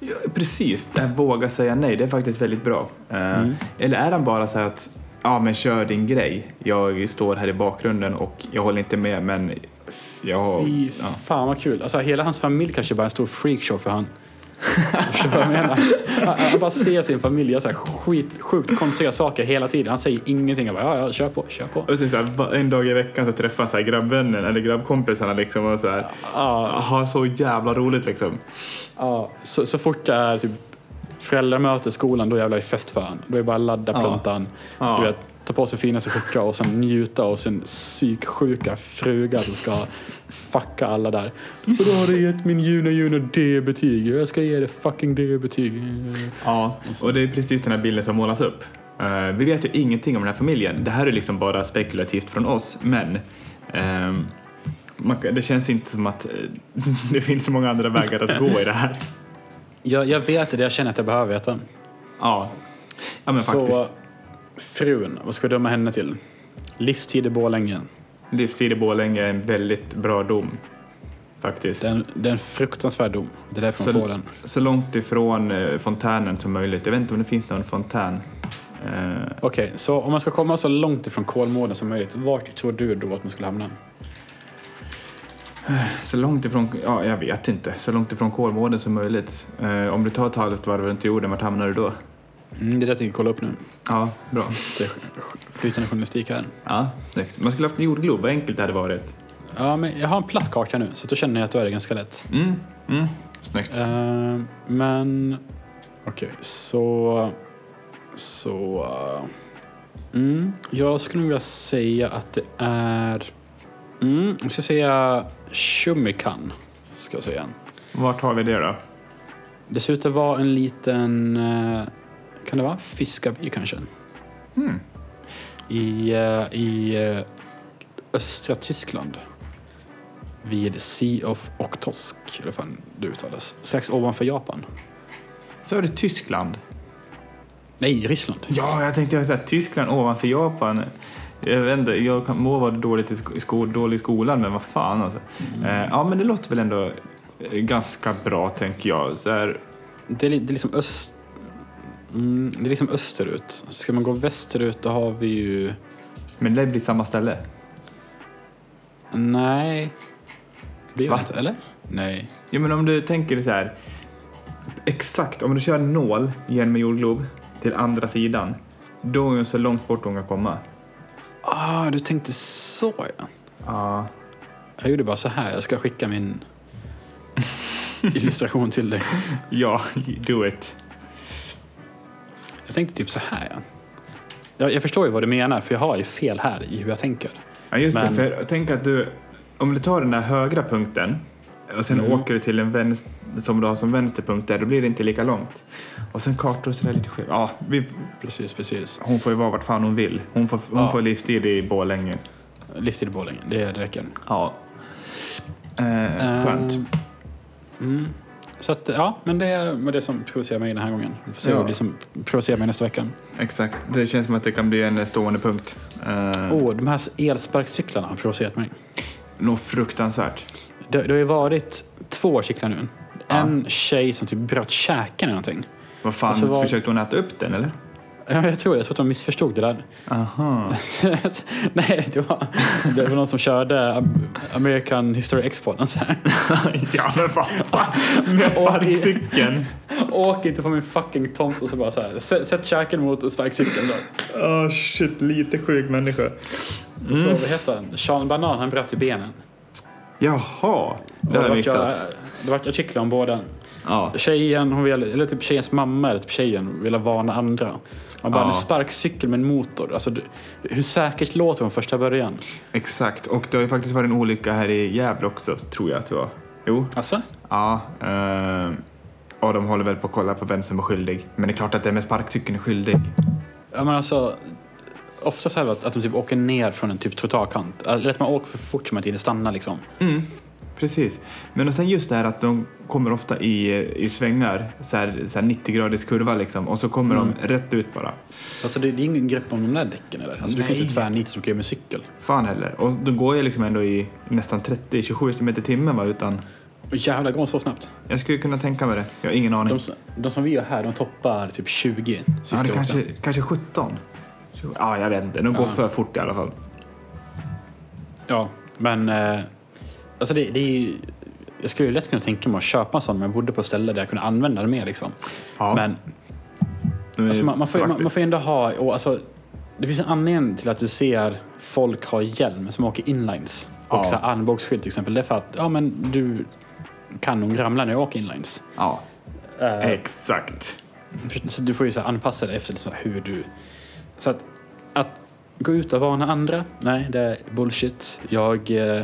[SPEAKER 2] Ja, precis, det här våga säga nej, det är faktiskt väldigt bra. Eh, Eller är han bara så här att, ja men kör din grej. Jag står här i bakgrunden och jag håller inte med men jag har...
[SPEAKER 1] Fy
[SPEAKER 2] Ja.
[SPEAKER 1] fan vad kul. Alltså, hela hans familj kanske bara är en stor freakshow för han. Förstår du vad jag menar? Han, han bara ser sin familj göra så här skit, sjukt konstiga saker hela tiden. Han säger ingenting. Jag bara, ja, ja, kör på, kör på.
[SPEAKER 2] Och sen så här, va- en dag i veckan så träffar han så här grabbvännen eller grabbkompisarna liksom och så här,
[SPEAKER 1] Ja,
[SPEAKER 2] har så jävla roligt liksom.
[SPEAKER 1] ja. Så, så fort det är typ föräldramöte i skolan, då jävlar är det fest för han. Då är det bara ladda
[SPEAKER 2] Ja.
[SPEAKER 1] pluntan.
[SPEAKER 2] Ja.
[SPEAKER 1] Du vet, ta på sig finaste skjorta och sen njuta och sin psyksjuka fruga som ska fucka alla där. Och då har du gett min Juno Juno D-betyg. Jag ska ge det fucking D-betyg.
[SPEAKER 2] Ja, och det är precis den här bilden som målas upp. Eh, vi vet ju ingenting om den här familjen. Det här är liksom bara spekulativt från oss, men ehm, man, kan- det känns inte som att eh, det finns så många andra vägar att gå i det här.
[SPEAKER 1] Jag, jag vet det, jag känner att jag behöver veta.
[SPEAKER 2] Ja, ja men faktiskt.
[SPEAKER 1] frun, vad ska vi döma henne till? Livstid i Borlänge.
[SPEAKER 2] Livstid i Borlänge är en väldigt bra dom, faktiskt.
[SPEAKER 1] Det är en, det är en fruktansvärd dom. Det är därför hon
[SPEAKER 2] Så-
[SPEAKER 1] får den.
[SPEAKER 2] Så långt ifrån eh, fontänen som möjligt. Jag vet inte om det finns någon fontän. Eh,
[SPEAKER 1] Okej, så om man ska komma så långt ifrån Kolmården som möjligt, vart tror du då att man skulle hamna?
[SPEAKER 2] Så långt ifrån, ja jag vet inte, så långt ifrån Kolmården som möjligt. Eh, om du tar ett halvt varv runt jorden, vart hamnar du då?
[SPEAKER 1] Mm, det är det jag tänker kolla upp nu.
[SPEAKER 2] Ja, bra.
[SPEAKER 1] Det är sk- flytande journalistik här.
[SPEAKER 2] Ja, snyggt. Man skulle haft en jordglob, vad enkelt det hade varit.
[SPEAKER 1] Ja, men jag har en platt karta nu, så då känner jag att då är det ganska lätt.
[SPEAKER 2] Mm, mm, snyggt.
[SPEAKER 1] Eh, men okej, så... Så... eh, mm, jag skulle vilja säga att det är... Mm, jag ska säga Shumikan. Ska jag säga.
[SPEAKER 2] Vart har vi det då?
[SPEAKER 1] Det ser ut att vara en liten... eh, kan det vara fiskarby kanske?
[SPEAKER 2] Mm.
[SPEAKER 1] I, eh, i eh, östra Tyskland. Vid Sea of Oktosk, eller vad fan det uttalas. Strax ovanför Japan.
[SPEAKER 2] Så är det Tyskland.
[SPEAKER 1] Nej, Ryssland.
[SPEAKER 2] Ja, jag tänkte säga Tyskland ovanför Japan. Jag vet inte, jag kan, må vara dåligt i sko, i sko, dålig i skolan, men vad fan alltså. Eh, ja, men det låter väl ändå eh, ganska bra, tänker jag. Så här,
[SPEAKER 1] Det är, li- det är liksom öst... Mm, det är liksom österut. Ska man gå västerut då har vi ju...
[SPEAKER 2] men det blir samma ställe.
[SPEAKER 1] Nej. Det blir
[SPEAKER 2] Va?
[SPEAKER 1] det inte, eller? Nej.
[SPEAKER 2] Ja, men om du tänker dig så här. Exakt, om du kör en nål genom en jordglob till andra sidan, då är hon så långt bort hon kan komma.
[SPEAKER 1] Ah, du tänkte så ja.
[SPEAKER 2] Ja,
[SPEAKER 1] Jag gjorde bara så här. Jag ska skicka min illustration till dig.
[SPEAKER 2] ja, do it.
[SPEAKER 1] Jag tänkte typ så här ja. Jag, jag förstår ju vad du menar, för jag har ju fel här i hur jag tänker.
[SPEAKER 2] Ja, just
[SPEAKER 1] Men-
[SPEAKER 2] det, för tänk att du, om du tar den där högra punkten och sen
[SPEAKER 1] Mm.
[SPEAKER 2] åker du till en vänster, som du har som vänsterpunkt där, då blir det inte lika långt. Och sen kartor och sådär lite skevt. Ja, vi,
[SPEAKER 1] Precis, precis.
[SPEAKER 2] hon får ju vara vart fan hon vill. Hon får, hon
[SPEAKER 1] Ja.
[SPEAKER 2] får livstid i Borlänge.
[SPEAKER 1] Livstid i Borlänge, det det räcker.
[SPEAKER 2] Ja. Eh, skönt.
[SPEAKER 1] Ehm, mm. Så att, ja, men det var det som provocerar mig den här gången. Vi får se
[SPEAKER 2] Ja.
[SPEAKER 1] vad det är som provocerar mig nästa vecka.
[SPEAKER 2] Exakt. Det känns som att det kan bli en stående punkt. Eh,
[SPEAKER 1] Åh, de här elsparkcyklarna har provocerat mig.
[SPEAKER 2] Något fruktansvärt.
[SPEAKER 1] Det, det har ju varit två cyklar nu. En tjej som typ bröt käken eller någonting.
[SPEAKER 2] Vad fan,
[SPEAKER 1] Alltså, vad-
[SPEAKER 2] försökte hon äta upp den eller?
[SPEAKER 1] Ja, jag tror det. Jag tror att de missförstod det där.
[SPEAKER 2] Aha.
[SPEAKER 1] Nej, det var, det var någon som körde Am- American History X-podden så här.
[SPEAKER 2] ja men vad fan. Med sparkcykeln.
[SPEAKER 1] Åk inte på min fucking tomt och så bara så här. "Sä- Sätt käken mot sparkcykeln då.
[SPEAKER 3] Oh, shit, lite sjuk människa.
[SPEAKER 1] Och Så, vad heter han? Sean Banan, han bröt ju benen.
[SPEAKER 2] Jaha.
[SPEAKER 1] Och
[SPEAKER 2] Det har
[SPEAKER 1] vart
[SPEAKER 2] jag
[SPEAKER 1] jag-
[SPEAKER 2] missat.
[SPEAKER 1] Det vart artiklar om båda.
[SPEAKER 2] Ja.
[SPEAKER 1] Tjejen, hon vill, eller typ tjejens mamma, eller typ tjejen, ville varna andra. Man bara,
[SPEAKER 2] Ja.
[SPEAKER 1] en sparkcykel med en motor. Alltså, du, hur säkert låter hon första början?
[SPEAKER 2] Exakt. Och det har ju faktiskt varit en olycka här i Gävle också, tror jag att det var. Jo.
[SPEAKER 1] Alltså?
[SPEAKER 2] Ja. Eh, och de håller väl på att kolla på vem som är skyldig. Men det är klart att det med sparkcykeln är skyldig.
[SPEAKER 1] Ja, men alltså ofta så här att, att de typ åker ner från en typ trottoarkant. Eller att man åker för fort så man inte hinner stanna liksom.
[SPEAKER 2] Mm, precis. Men och sen just det här att de kommer ofta i, i svängar, så här, så här 90-graders kurva liksom, och så kommer de rätt ut bara.
[SPEAKER 1] Alltså det, det är ingen grepp om de där däcken eller? Alltså, du kan ju
[SPEAKER 2] Nej.
[SPEAKER 1] inte tvärnita som du kan göra med cykel.
[SPEAKER 2] Fan heller. Och de går ju liksom ändå i nästan 30-27 km i timmen va, utan
[SPEAKER 1] Och jävlar, går de så snabbt?
[SPEAKER 2] jag skulle kunna tänka mig det. Jag har ingen aning.
[SPEAKER 1] De, som- de som vi gör här, de toppar typ 20
[SPEAKER 2] ja,
[SPEAKER 1] sista
[SPEAKER 2] det
[SPEAKER 1] åkten.
[SPEAKER 2] kanske, kanske 17? Ja, jag vet inte. De går
[SPEAKER 1] Ja.
[SPEAKER 2] för fort i alla fall.
[SPEAKER 1] Ja, men eh, alltså det, det är ju... Jag skulle ju lätt kunna tänka mig att köpa en sån om jag bodde på ett ställe där jag kunde använda den mer liksom.
[SPEAKER 2] Ja,
[SPEAKER 1] Men
[SPEAKER 2] de är
[SPEAKER 1] Alltså man, man, får, man,
[SPEAKER 2] praktiskt.
[SPEAKER 1] man får ändå ha... Och alltså, det finns en anledning till att du ser folk ha hjälm som åker inlines. Och
[SPEAKER 2] Ja.
[SPEAKER 1] så här armbågsskydd till exempel. Det är för att ja, men du kan nog ramla när jag åker inlines.
[SPEAKER 2] Ja,
[SPEAKER 1] Eh,
[SPEAKER 2] exakt.
[SPEAKER 1] så du får ju så här anpassa dig efter liksom hur du... Så att, att gå ut och varna andra, nej det är bullshit. Jag eh,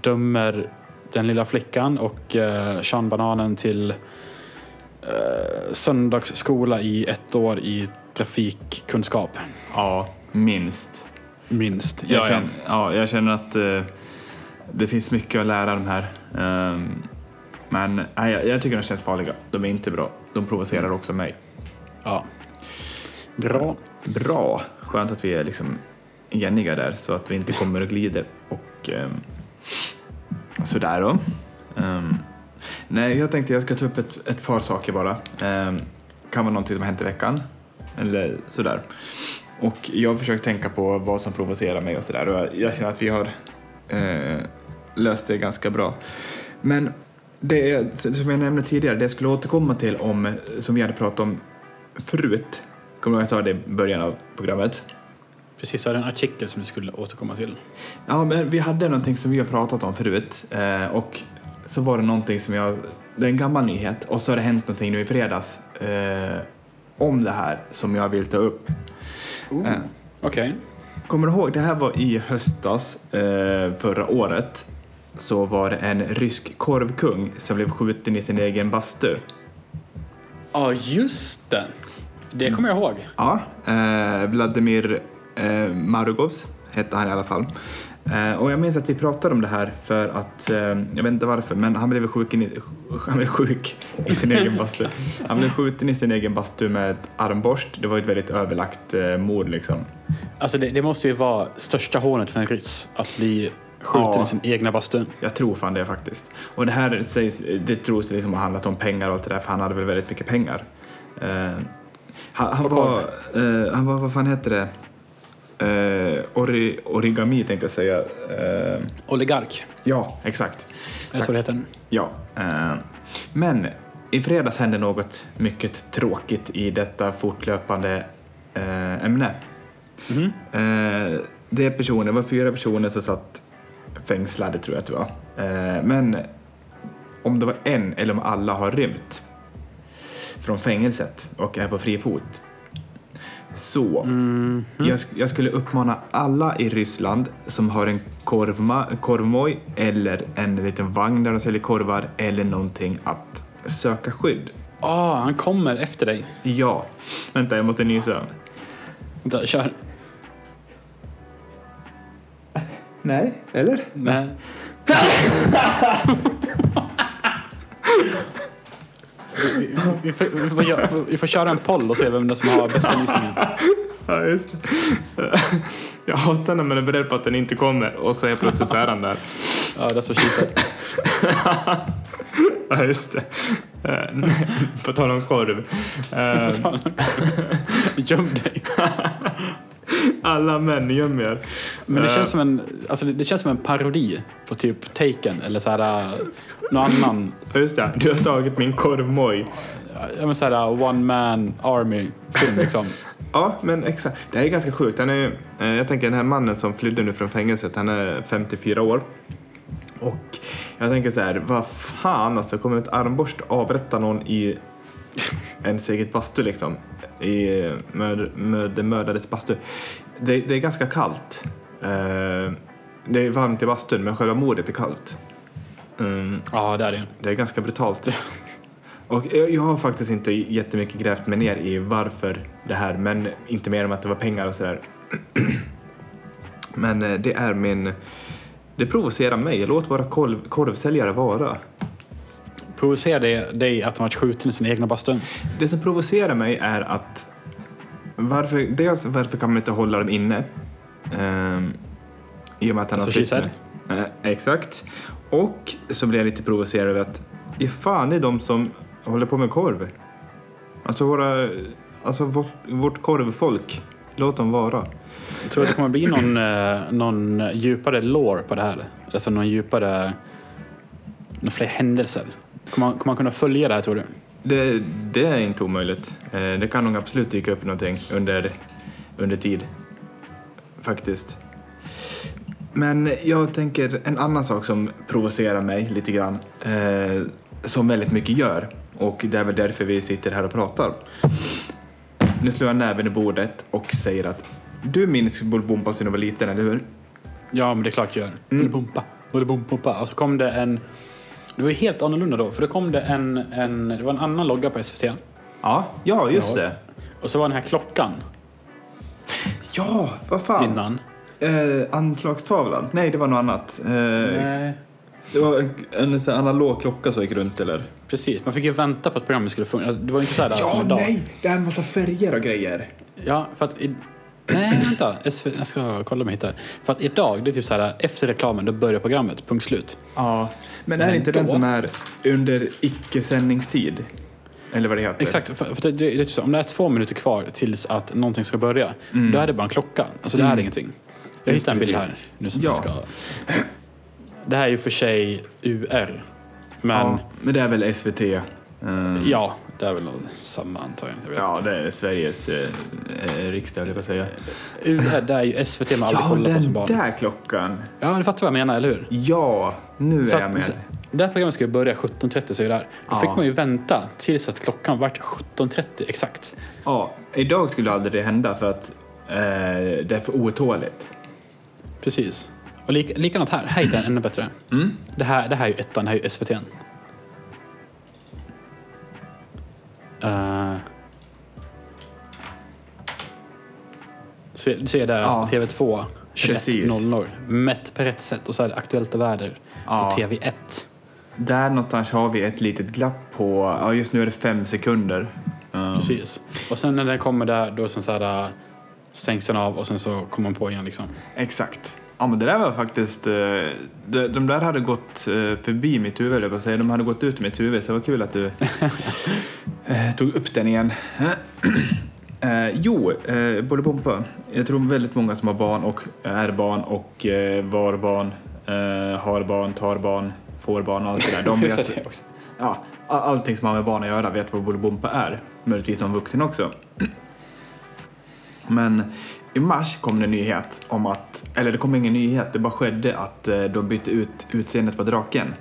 [SPEAKER 1] dömer den lilla flickan och eh, Sean Bananen till eh, söndagsskola i ett år i trafikkunskap.
[SPEAKER 2] Ja, minst.
[SPEAKER 1] Minst.
[SPEAKER 2] Jag,
[SPEAKER 1] Jag
[SPEAKER 2] känner,
[SPEAKER 1] känner-
[SPEAKER 2] ja, jag känner att eh, det finns mycket att lära de här. Ehm, men nej, jag, jag tycker de känns farliga. De är inte bra. De provocerar också mig.
[SPEAKER 1] Ja. Bra.
[SPEAKER 2] Bra! Skönt att vi är liksom eniga där så att vi inte kommer och glider. Och ehm, sådär då. Ehm, nej, jag tänkte jag ska ta upp ett, ett par saker bara. Ehm, kan vara någonting som har hänt i veckan. Eller sådär. Och jag har försökt tänka på vad som provocerar mig och sådär. Och jag, jag känner att vi har eh, löst det ganska bra. Men det är, som jag nämnde tidigare, det jag skulle återkomma till om, som vi hade pratat om förut. Kommer du ihåg att jag sa det i början av programmet?
[SPEAKER 1] Precis, så är det en artikel som du skulle återkomma till.
[SPEAKER 2] Ja, men vi hade någonting som vi har pratat om förut eh, och så var det någonting som jag, det är en gammal nyhet och så har det hänt någonting nu i fredags eh, om det här som jag vill ta upp.
[SPEAKER 1] Ooh.
[SPEAKER 2] Eh.
[SPEAKER 1] Okej.
[SPEAKER 2] Kommer du ihåg, det här var i höstas eh, förra året så var det en rysk korvkung som blev skjuten i sin egen bastu.
[SPEAKER 1] Ja, just det. Det kommer jag ihåg.
[SPEAKER 2] Ja, eh, Vladimir eh, Marugovs hette han i alla fall. Eh, och jag minns att vi pratade om det här för att, eh, jag vet inte varför, men han blev sjuk, i, han blev sjuk i sin egen bastu. Han blev skjuten i sin egen bastu med ett armborst. Det var ju ett väldigt överlagt eh, mord liksom.
[SPEAKER 1] Alltså det, det måste ju vara största hånet för en ryss att bli skjuten
[SPEAKER 2] Ja.
[SPEAKER 1] i sin egna bastu.
[SPEAKER 2] Jag tror fan det faktiskt. Och det här sägs, det tros liksom ha handlat om pengar och allt det där, för han hade väl väldigt mycket pengar. Eh, han, han,
[SPEAKER 1] Och
[SPEAKER 2] var, eh, han var, vad fan hette det? Eh, ori, origami tänkte jag säga. Eh,
[SPEAKER 1] Oligark,
[SPEAKER 2] ja, exakt.
[SPEAKER 1] är det så det heter?
[SPEAKER 2] Ja. Eh, men i fredags hände något mycket tråkigt i detta fortlöpande eh, ämne. Eh, det, är personer, det var fyra personer som satt fängslade tror jag att det var. Eh, men om det var en eller om alla har rymt från fängelset och är på fri fot. Så
[SPEAKER 1] Mhm. Mm.
[SPEAKER 2] jag, sk- jag skulle uppmana alla i Ryssland som har en korvma, korvmoj eller en liten vagn där de säljer korvar eller någonting att söka skydd.
[SPEAKER 1] Ah, han kommer efter dig.
[SPEAKER 2] Ja, vänta jag måste nysa.
[SPEAKER 1] Vänta, kör.
[SPEAKER 2] Nej, eller?
[SPEAKER 1] Nej. vi, får, vi, får, göra- vi får köra en poll och se vem det är som har bästa gissningen.
[SPEAKER 2] Ja, just det. Jag hatar när man är beredd på att den inte kommer och så är plötsligt så är den där.
[SPEAKER 1] Ja, that's what she said.
[SPEAKER 2] Ja, just det. Eh, nej, På tal om korv. Eh,
[SPEAKER 1] Göm dig.
[SPEAKER 2] Alla män gömmer er.
[SPEAKER 1] Men det
[SPEAKER 2] Eh,
[SPEAKER 1] känns som en, alltså det, det känns som en parodi på typ Taken eller så här, äh, någon annan.
[SPEAKER 2] Ja, just det. Du har tagit min korvmoj.
[SPEAKER 1] Ja, men så här äh, one man army film liksom.
[SPEAKER 2] Ja, men exakt. Det här är ganska sjukt. Han är, eh, jag tänker den här mannen som flydde nu från fängelset, han är 54 år. Och jag tänker så här, vad fan alltså, kommer ett armborst avrätta någon i ens eget bastu liksom? I mörd, mörd, den mördades bastu. Det, det är ganska kallt. Eh, det är varmt i bastun, men själva mordet är kallt. Mm.
[SPEAKER 1] Ja, där är det.
[SPEAKER 2] Det är ganska brutalt. Och jag jag har faktiskt inte jättemycket grävt mig ner i varför det här, men inte mer om att det var pengar och sådär. Men eh, det är min... Det provocerar mig. Låt våra korv, korvsäljare vara.
[SPEAKER 1] Provocerar det dig att de varit skjuten i sina egna bastun?
[SPEAKER 2] Det som provocerar mig är att varför, dels varför kan man inte hålla dem inne? Ehm, I och med att han
[SPEAKER 1] Alltså,
[SPEAKER 2] flytt
[SPEAKER 1] she said.
[SPEAKER 2] nu. Eh, exakt. Och så blir jag lite provocerad över att ja, fan det är de som håller på med korv. Alltså våra, alltså vårt, vårt korvfolk. Låt dem vara.
[SPEAKER 1] Tror du det kommer bli någon, eh, någon djupare lore på det här? Alltså någon djupare, några fler händelser? Kommer man, kommer man kunna följa det här tror du?
[SPEAKER 2] Det, det är inte omöjligt. Eh, det kan nog absolut dyka upp någonting under, under tid. Faktiskt. Men jag tänker en annan sak som provocerar mig lite grann. Eh, som väldigt mycket gör. Och det är väl därför vi sitter här och pratar. Nu slår jag näven i bordet och säger att du minns Bolibompa sen du var liten, eller hur?
[SPEAKER 1] Ja, men det är klart jag gör.
[SPEAKER 2] Mm.
[SPEAKER 1] Bolibompa, bolibompa. Och så kom det en... Det var ju helt annorlunda då, för då kom det en, en, det var en annan logga på SVT.
[SPEAKER 2] Ja, ja just
[SPEAKER 1] Ja.
[SPEAKER 2] det.
[SPEAKER 1] Och så var den här klockan
[SPEAKER 2] Ja, vad fan.
[SPEAKER 1] innan.
[SPEAKER 2] Eh, anslagstavlan? Nej, det var något annat. Eh,
[SPEAKER 1] Nej,
[SPEAKER 2] Det var en sån här analog klocka som gick runt eller?
[SPEAKER 1] precis. Man fick ju vänta på att programmet skulle funka. Alltså, Det var ju inte så här där
[SPEAKER 2] ja,
[SPEAKER 1] som idag.
[SPEAKER 2] nej! Det är en massa färger och grejer.
[SPEAKER 1] Ja, för att... I... Nej, vänta. SV... Jag ska kolla om jag hittar. För att idag, det är typ så här efter reklamen, då börjar programmet. Punkt slut.
[SPEAKER 2] Ja. Men är det
[SPEAKER 1] Men
[SPEAKER 2] inte den
[SPEAKER 1] då?
[SPEAKER 2] som är under icke-sändningstid? Eller vad det heter?
[SPEAKER 1] Exakt. För, för det, det, är typ så här, om det är två minuter kvar tills att någonting ska börja,
[SPEAKER 2] Mm.
[SPEAKER 1] då är det bara en klocka. Alltså, det är ingenting. Jag
[SPEAKER 2] Just
[SPEAKER 1] hittade en bild
[SPEAKER 2] precis.
[SPEAKER 1] här nu som
[SPEAKER 2] Mm. Ja.
[SPEAKER 1] jag ska... Det här är ju för sig UR. Men
[SPEAKER 2] Ja,
[SPEAKER 1] ja,
[SPEAKER 2] men det är väl SVT? Mm.
[SPEAKER 1] det är väl nog samma antagligen. Jag vet.
[SPEAKER 2] Ja, det är Sveriges eh, eh, riksdag, höll jag på att säga.
[SPEAKER 1] UR, det är ju SVT man aldrig
[SPEAKER 2] Ja,
[SPEAKER 1] kollar på som
[SPEAKER 2] den
[SPEAKER 1] barn.
[SPEAKER 2] där klockan.
[SPEAKER 1] Ja, du fattar vad jag menar, eller hur?
[SPEAKER 2] Ja, nu
[SPEAKER 1] Så
[SPEAKER 2] är
[SPEAKER 1] att
[SPEAKER 2] jag med.
[SPEAKER 1] d- Det här programmet ska ju börja 17.30 säger det här. Då
[SPEAKER 2] Ja.
[SPEAKER 1] fick man ju vänta tills att klockan vart 17.30 exakt.
[SPEAKER 2] Ja, idag skulle aldrig det hända för att eh, det är för otåligt.
[SPEAKER 1] Precis. Och lik, likadant här. Här hittade jag en ännu bättre.
[SPEAKER 2] Mm.
[SPEAKER 1] Det, här, det här är ju ettan, det här är ju SVT. Uh, så, du ser där
[SPEAKER 2] Ja.
[SPEAKER 1] att TV2
[SPEAKER 2] Precis.
[SPEAKER 1] 21.00 mätt på rätt sätt och så är det Aktuellt och väder
[SPEAKER 2] Ja.
[SPEAKER 1] på TV1.
[SPEAKER 2] Där någonstans har vi ett litet glapp på, ja just nu är det fem sekunder. Mm.
[SPEAKER 1] Precis. Och sen när den kommer där, då är det sån så här, äh, stängs den av och sen så kommer man på igen. Liksom.
[SPEAKER 2] Exakt. Ja men det där var faktiskt, eh, de, de där hade gått eh, förbi mitt huvud eller vad säger De hade gått ut ur mitt huvud så det var kul att du eh, tog upp den igen. Eh, jo, eh, Bolibompa. Jag tror väldigt många som har barn och är barn och eh, var barn, eh, har barn, tar barn, får barn och allt det där. De
[SPEAKER 1] Så
[SPEAKER 2] vet,
[SPEAKER 1] det också.
[SPEAKER 2] ja, a- allting som har med barn att göra vet vad Bolibompa är. Möjligtvis någon vuxen också. Men i mars kom det en nyhet om att, eller det kom ingen nyhet, det bara skedde att eh, de bytte ut utseendet på draken.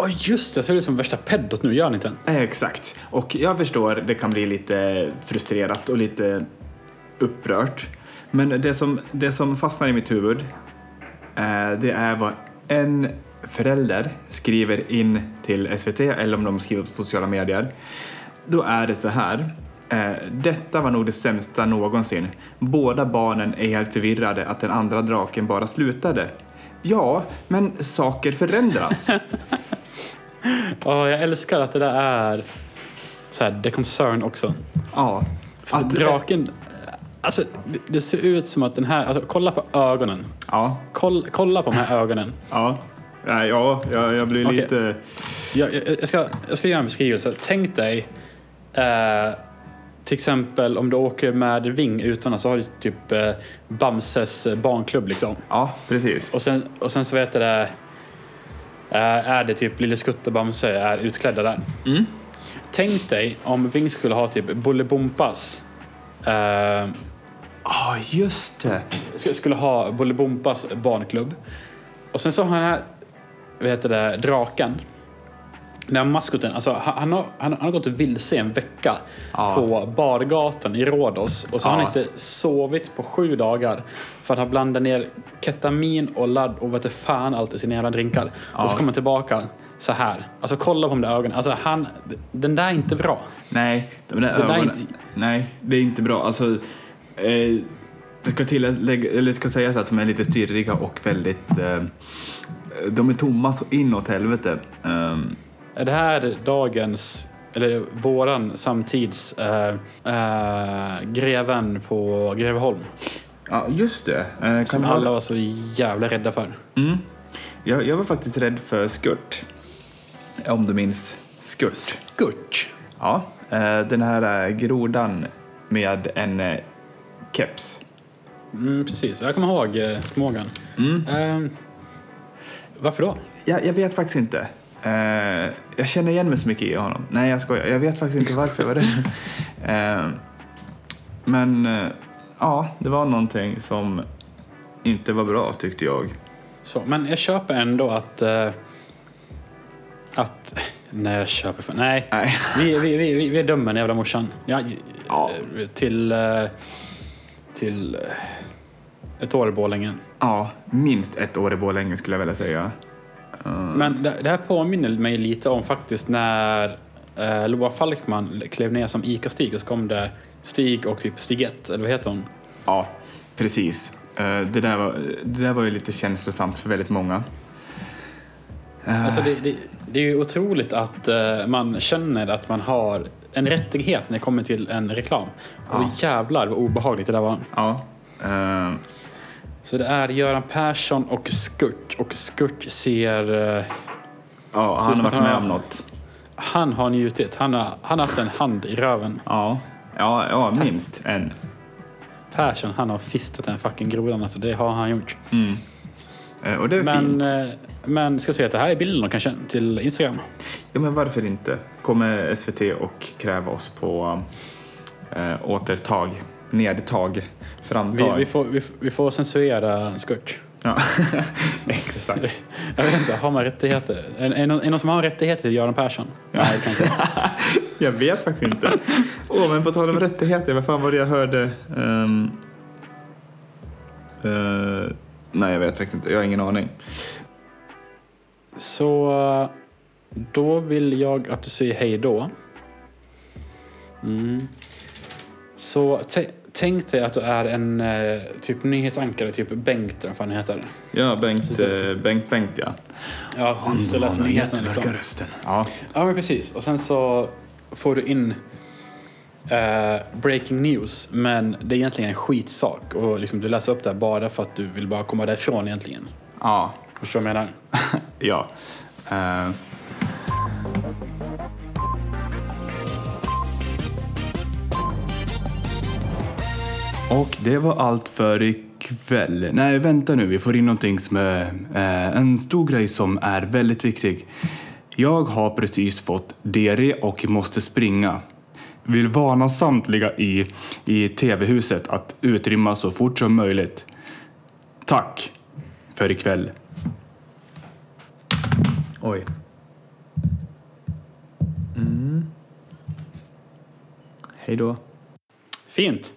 [SPEAKER 1] Åh, just det, jag ser ut som värsta peddot nu, gör han inte?
[SPEAKER 2] Eh, exakt. Och jag förstår, det kan bli lite frustrerat och lite upprört. Men det som, det som fastnar i mitt huvud, eh, det är vad en förälder skriver in till SVT eller om de skriver på sociala medier. Då är det så här. Eh, detta var nog det sämsta någonsin. Båda barnen är helt förvirrade att den andra draken bara slutade. Ja, men saker förändras.
[SPEAKER 1] Ja, jag älskar att det där är... så här, The Concern också.
[SPEAKER 2] Ja. Att,
[SPEAKER 1] Draken, alltså det, det ser ut som att den här, alltså kolla på ögonen.
[SPEAKER 2] ja,
[SPEAKER 1] Koll, kolla på de här ögonen.
[SPEAKER 2] ja. Nej, ja, jag, jag blir
[SPEAKER 1] Okej.
[SPEAKER 2] lite...
[SPEAKER 1] Jag, jag, jag, ska, jag ska göra en beskrivelse. Tänk dig eh, till exempel om du åker med Ving utan så har du typ eh, Bamses barnklubb liksom.
[SPEAKER 2] Ja, precis.
[SPEAKER 1] Och sen, och sen så vet jag det, eh, är det typ Lille Skutt och Bamse är utklädda där.
[SPEAKER 2] Mm.
[SPEAKER 1] Tänk dig om Ving skulle ha typ Bolibompas eh,
[SPEAKER 2] Ja, just det.
[SPEAKER 1] sk- skulle ha Bolibompas barnklubb. Och sen så har den här, vad heter det, draken. Den här maskoten, alltså han, han, har, han, han har gått vilse i en vecka
[SPEAKER 2] Ja.
[SPEAKER 1] på bargatan i Rhodos. Och så har
[SPEAKER 2] Ja.
[SPEAKER 1] han inte sovit på sju dagar. För att han blandar ner ketamin och ladd och vet du fan allt i sina jävla drinkar. Och så kommer han tillbaka så här. Alltså kolla på de där ögonen. Alltså han, den där är inte bra.
[SPEAKER 2] Nej, de där
[SPEAKER 1] där är
[SPEAKER 2] ögonen,
[SPEAKER 1] inte-
[SPEAKER 2] nej, det är inte bra. Alltså, eh, det ska tillägga, eller det ska sägas att de är lite stirriga och väldigt... Eh, de är tomma så inåt helvete. Ehm,
[SPEAKER 1] Är det här dagens, eller våran samtids eh, eh, greven på Greveholm?
[SPEAKER 2] ja, just det. Eh, kan
[SPEAKER 1] Som
[SPEAKER 2] vi-
[SPEAKER 1] alla var så jävla rädda för.
[SPEAKER 2] Mm. Jag, jag var faktiskt rädd för skurt. Om du minns skurt.
[SPEAKER 1] Gurch.
[SPEAKER 2] Ja, eh, den här eh, grodan med en eh, keps.
[SPEAKER 1] Mm, precis, jag kommer ihåg eh, förmågan. Eh, varför då?
[SPEAKER 2] Jag, jag vet faktiskt inte. Eh, jag känner igen mig så mycket i honom. Nej, jag skojar. Jag vet faktiskt inte varför jag var rädd. Eh, men eh, ja, det var någonting som inte var bra tyckte jag.
[SPEAKER 1] Så, men jag köper ändå att... Eh, att... Nej, jag köper för, Nej,
[SPEAKER 2] Nej.
[SPEAKER 1] vi, vi, vi, vi, vi dömer den jävla morsan. Ja,
[SPEAKER 2] Ja.
[SPEAKER 1] eh, Till... Eh, till... Eh, ett år i Borlänge.
[SPEAKER 2] Ja, minst ett år i Borlänge skulle jag vilja säga. Eh,
[SPEAKER 1] Men det, det här påminner mig lite om faktiskt när eh, Loa Falkman klev ner som ICA-Stig och så kom det Stig och typ Stig 1, eller vad heter hon?
[SPEAKER 2] Ja, precis. Eh, Det där, var, det där var ju lite känslosamt för väldigt många. Eh,
[SPEAKER 1] Alltså det, det, det är ju otroligt att eh, man känner att man har en rättighet när det kommer till en reklam. Och jävlar vad obehagligt det där var.
[SPEAKER 2] Ja. Eh,
[SPEAKER 1] Så det är Göran Persson och Skurt och Skurt ser... eh,
[SPEAKER 2] Ja,
[SPEAKER 1] Så
[SPEAKER 2] han har
[SPEAKER 1] att
[SPEAKER 2] varit
[SPEAKER 1] han
[SPEAKER 2] med
[SPEAKER 1] har-
[SPEAKER 2] om något.
[SPEAKER 1] han har njutit. Han har, han har haft en hand i röven.
[SPEAKER 2] Ja, ja, ja minst en.
[SPEAKER 1] Persson, han har fistat den fucking grodan alltså. Det har han gjort.
[SPEAKER 2] Eh, Och det är
[SPEAKER 1] Men,
[SPEAKER 2] fint.
[SPEAKER 1] eh, men ska vi säga att det här är bilden då kanske till Instagram?
[SPEAKER 2] Ja, men varför inte? Kommer SVT och kräva oss på eh, återtag, nedtag,
[SPEAKER 1] Vi,
[SPEAKER 2] framtag.
[SPEAKER 1] vi, får, vi, f- vi får censurera skurt.
[SPEAKER 2] Ja. Exakt.
[SPEAKER 1] Jag vet inte, har man rättigheter? Är, är, någon, är någon som har rättigheter till Göran Persson? Nej, kanske inte.
[SPEAKER 2] Jag vet faktiskt inte. Åh, men på tal om rättigheter, vad fan var det jag hörde? Ehm, eh, nej, jag vet faktiskt inte. Jag har ingen aning.
[SPEAKER 1] Så då vill jag att du säger hej då. Mm. Så tä- tänk dig att du är en eh, typ nyhetsankare, typ Bengt, vad fan han heter.
[SPEAKER 2] Ja, Bengt,
[SPEAKER 1] Precis.
[SPEAKER 2] eh, Bengt, Bengt ja.
[SPEAKER 1] Ja, som sitter och läser nyheterna liksom.
[SPEAKER 2] rösten. Ja.
[SPEAKER 1] Ja, men precis. Och sen så får du in eh, breaking news, men det är egentligen en skitsak. Och liksom, du läser upp det här bara för att du vill bara komma därifrån egentligen.
[SPEAKER 2] Ja.
[SPEAKER 1] Förstår du vad jag menar?
[SPEAKER 2] ja. Eh, Och det var allt för ikväll. Nej, vänta nu. Vi får in någonting som är eh, en stor grej som är väldigt viktig. Jag har precis fått diarré och måste springa. Vill varna samtliga i, i TV-huset att utrymma så fort som möjligt. Tack för ikväll. Oj. Hej då.
[SPEAKER 1] Fint.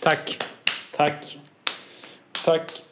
[SPEAKER 1] Tack. Tack. Tack.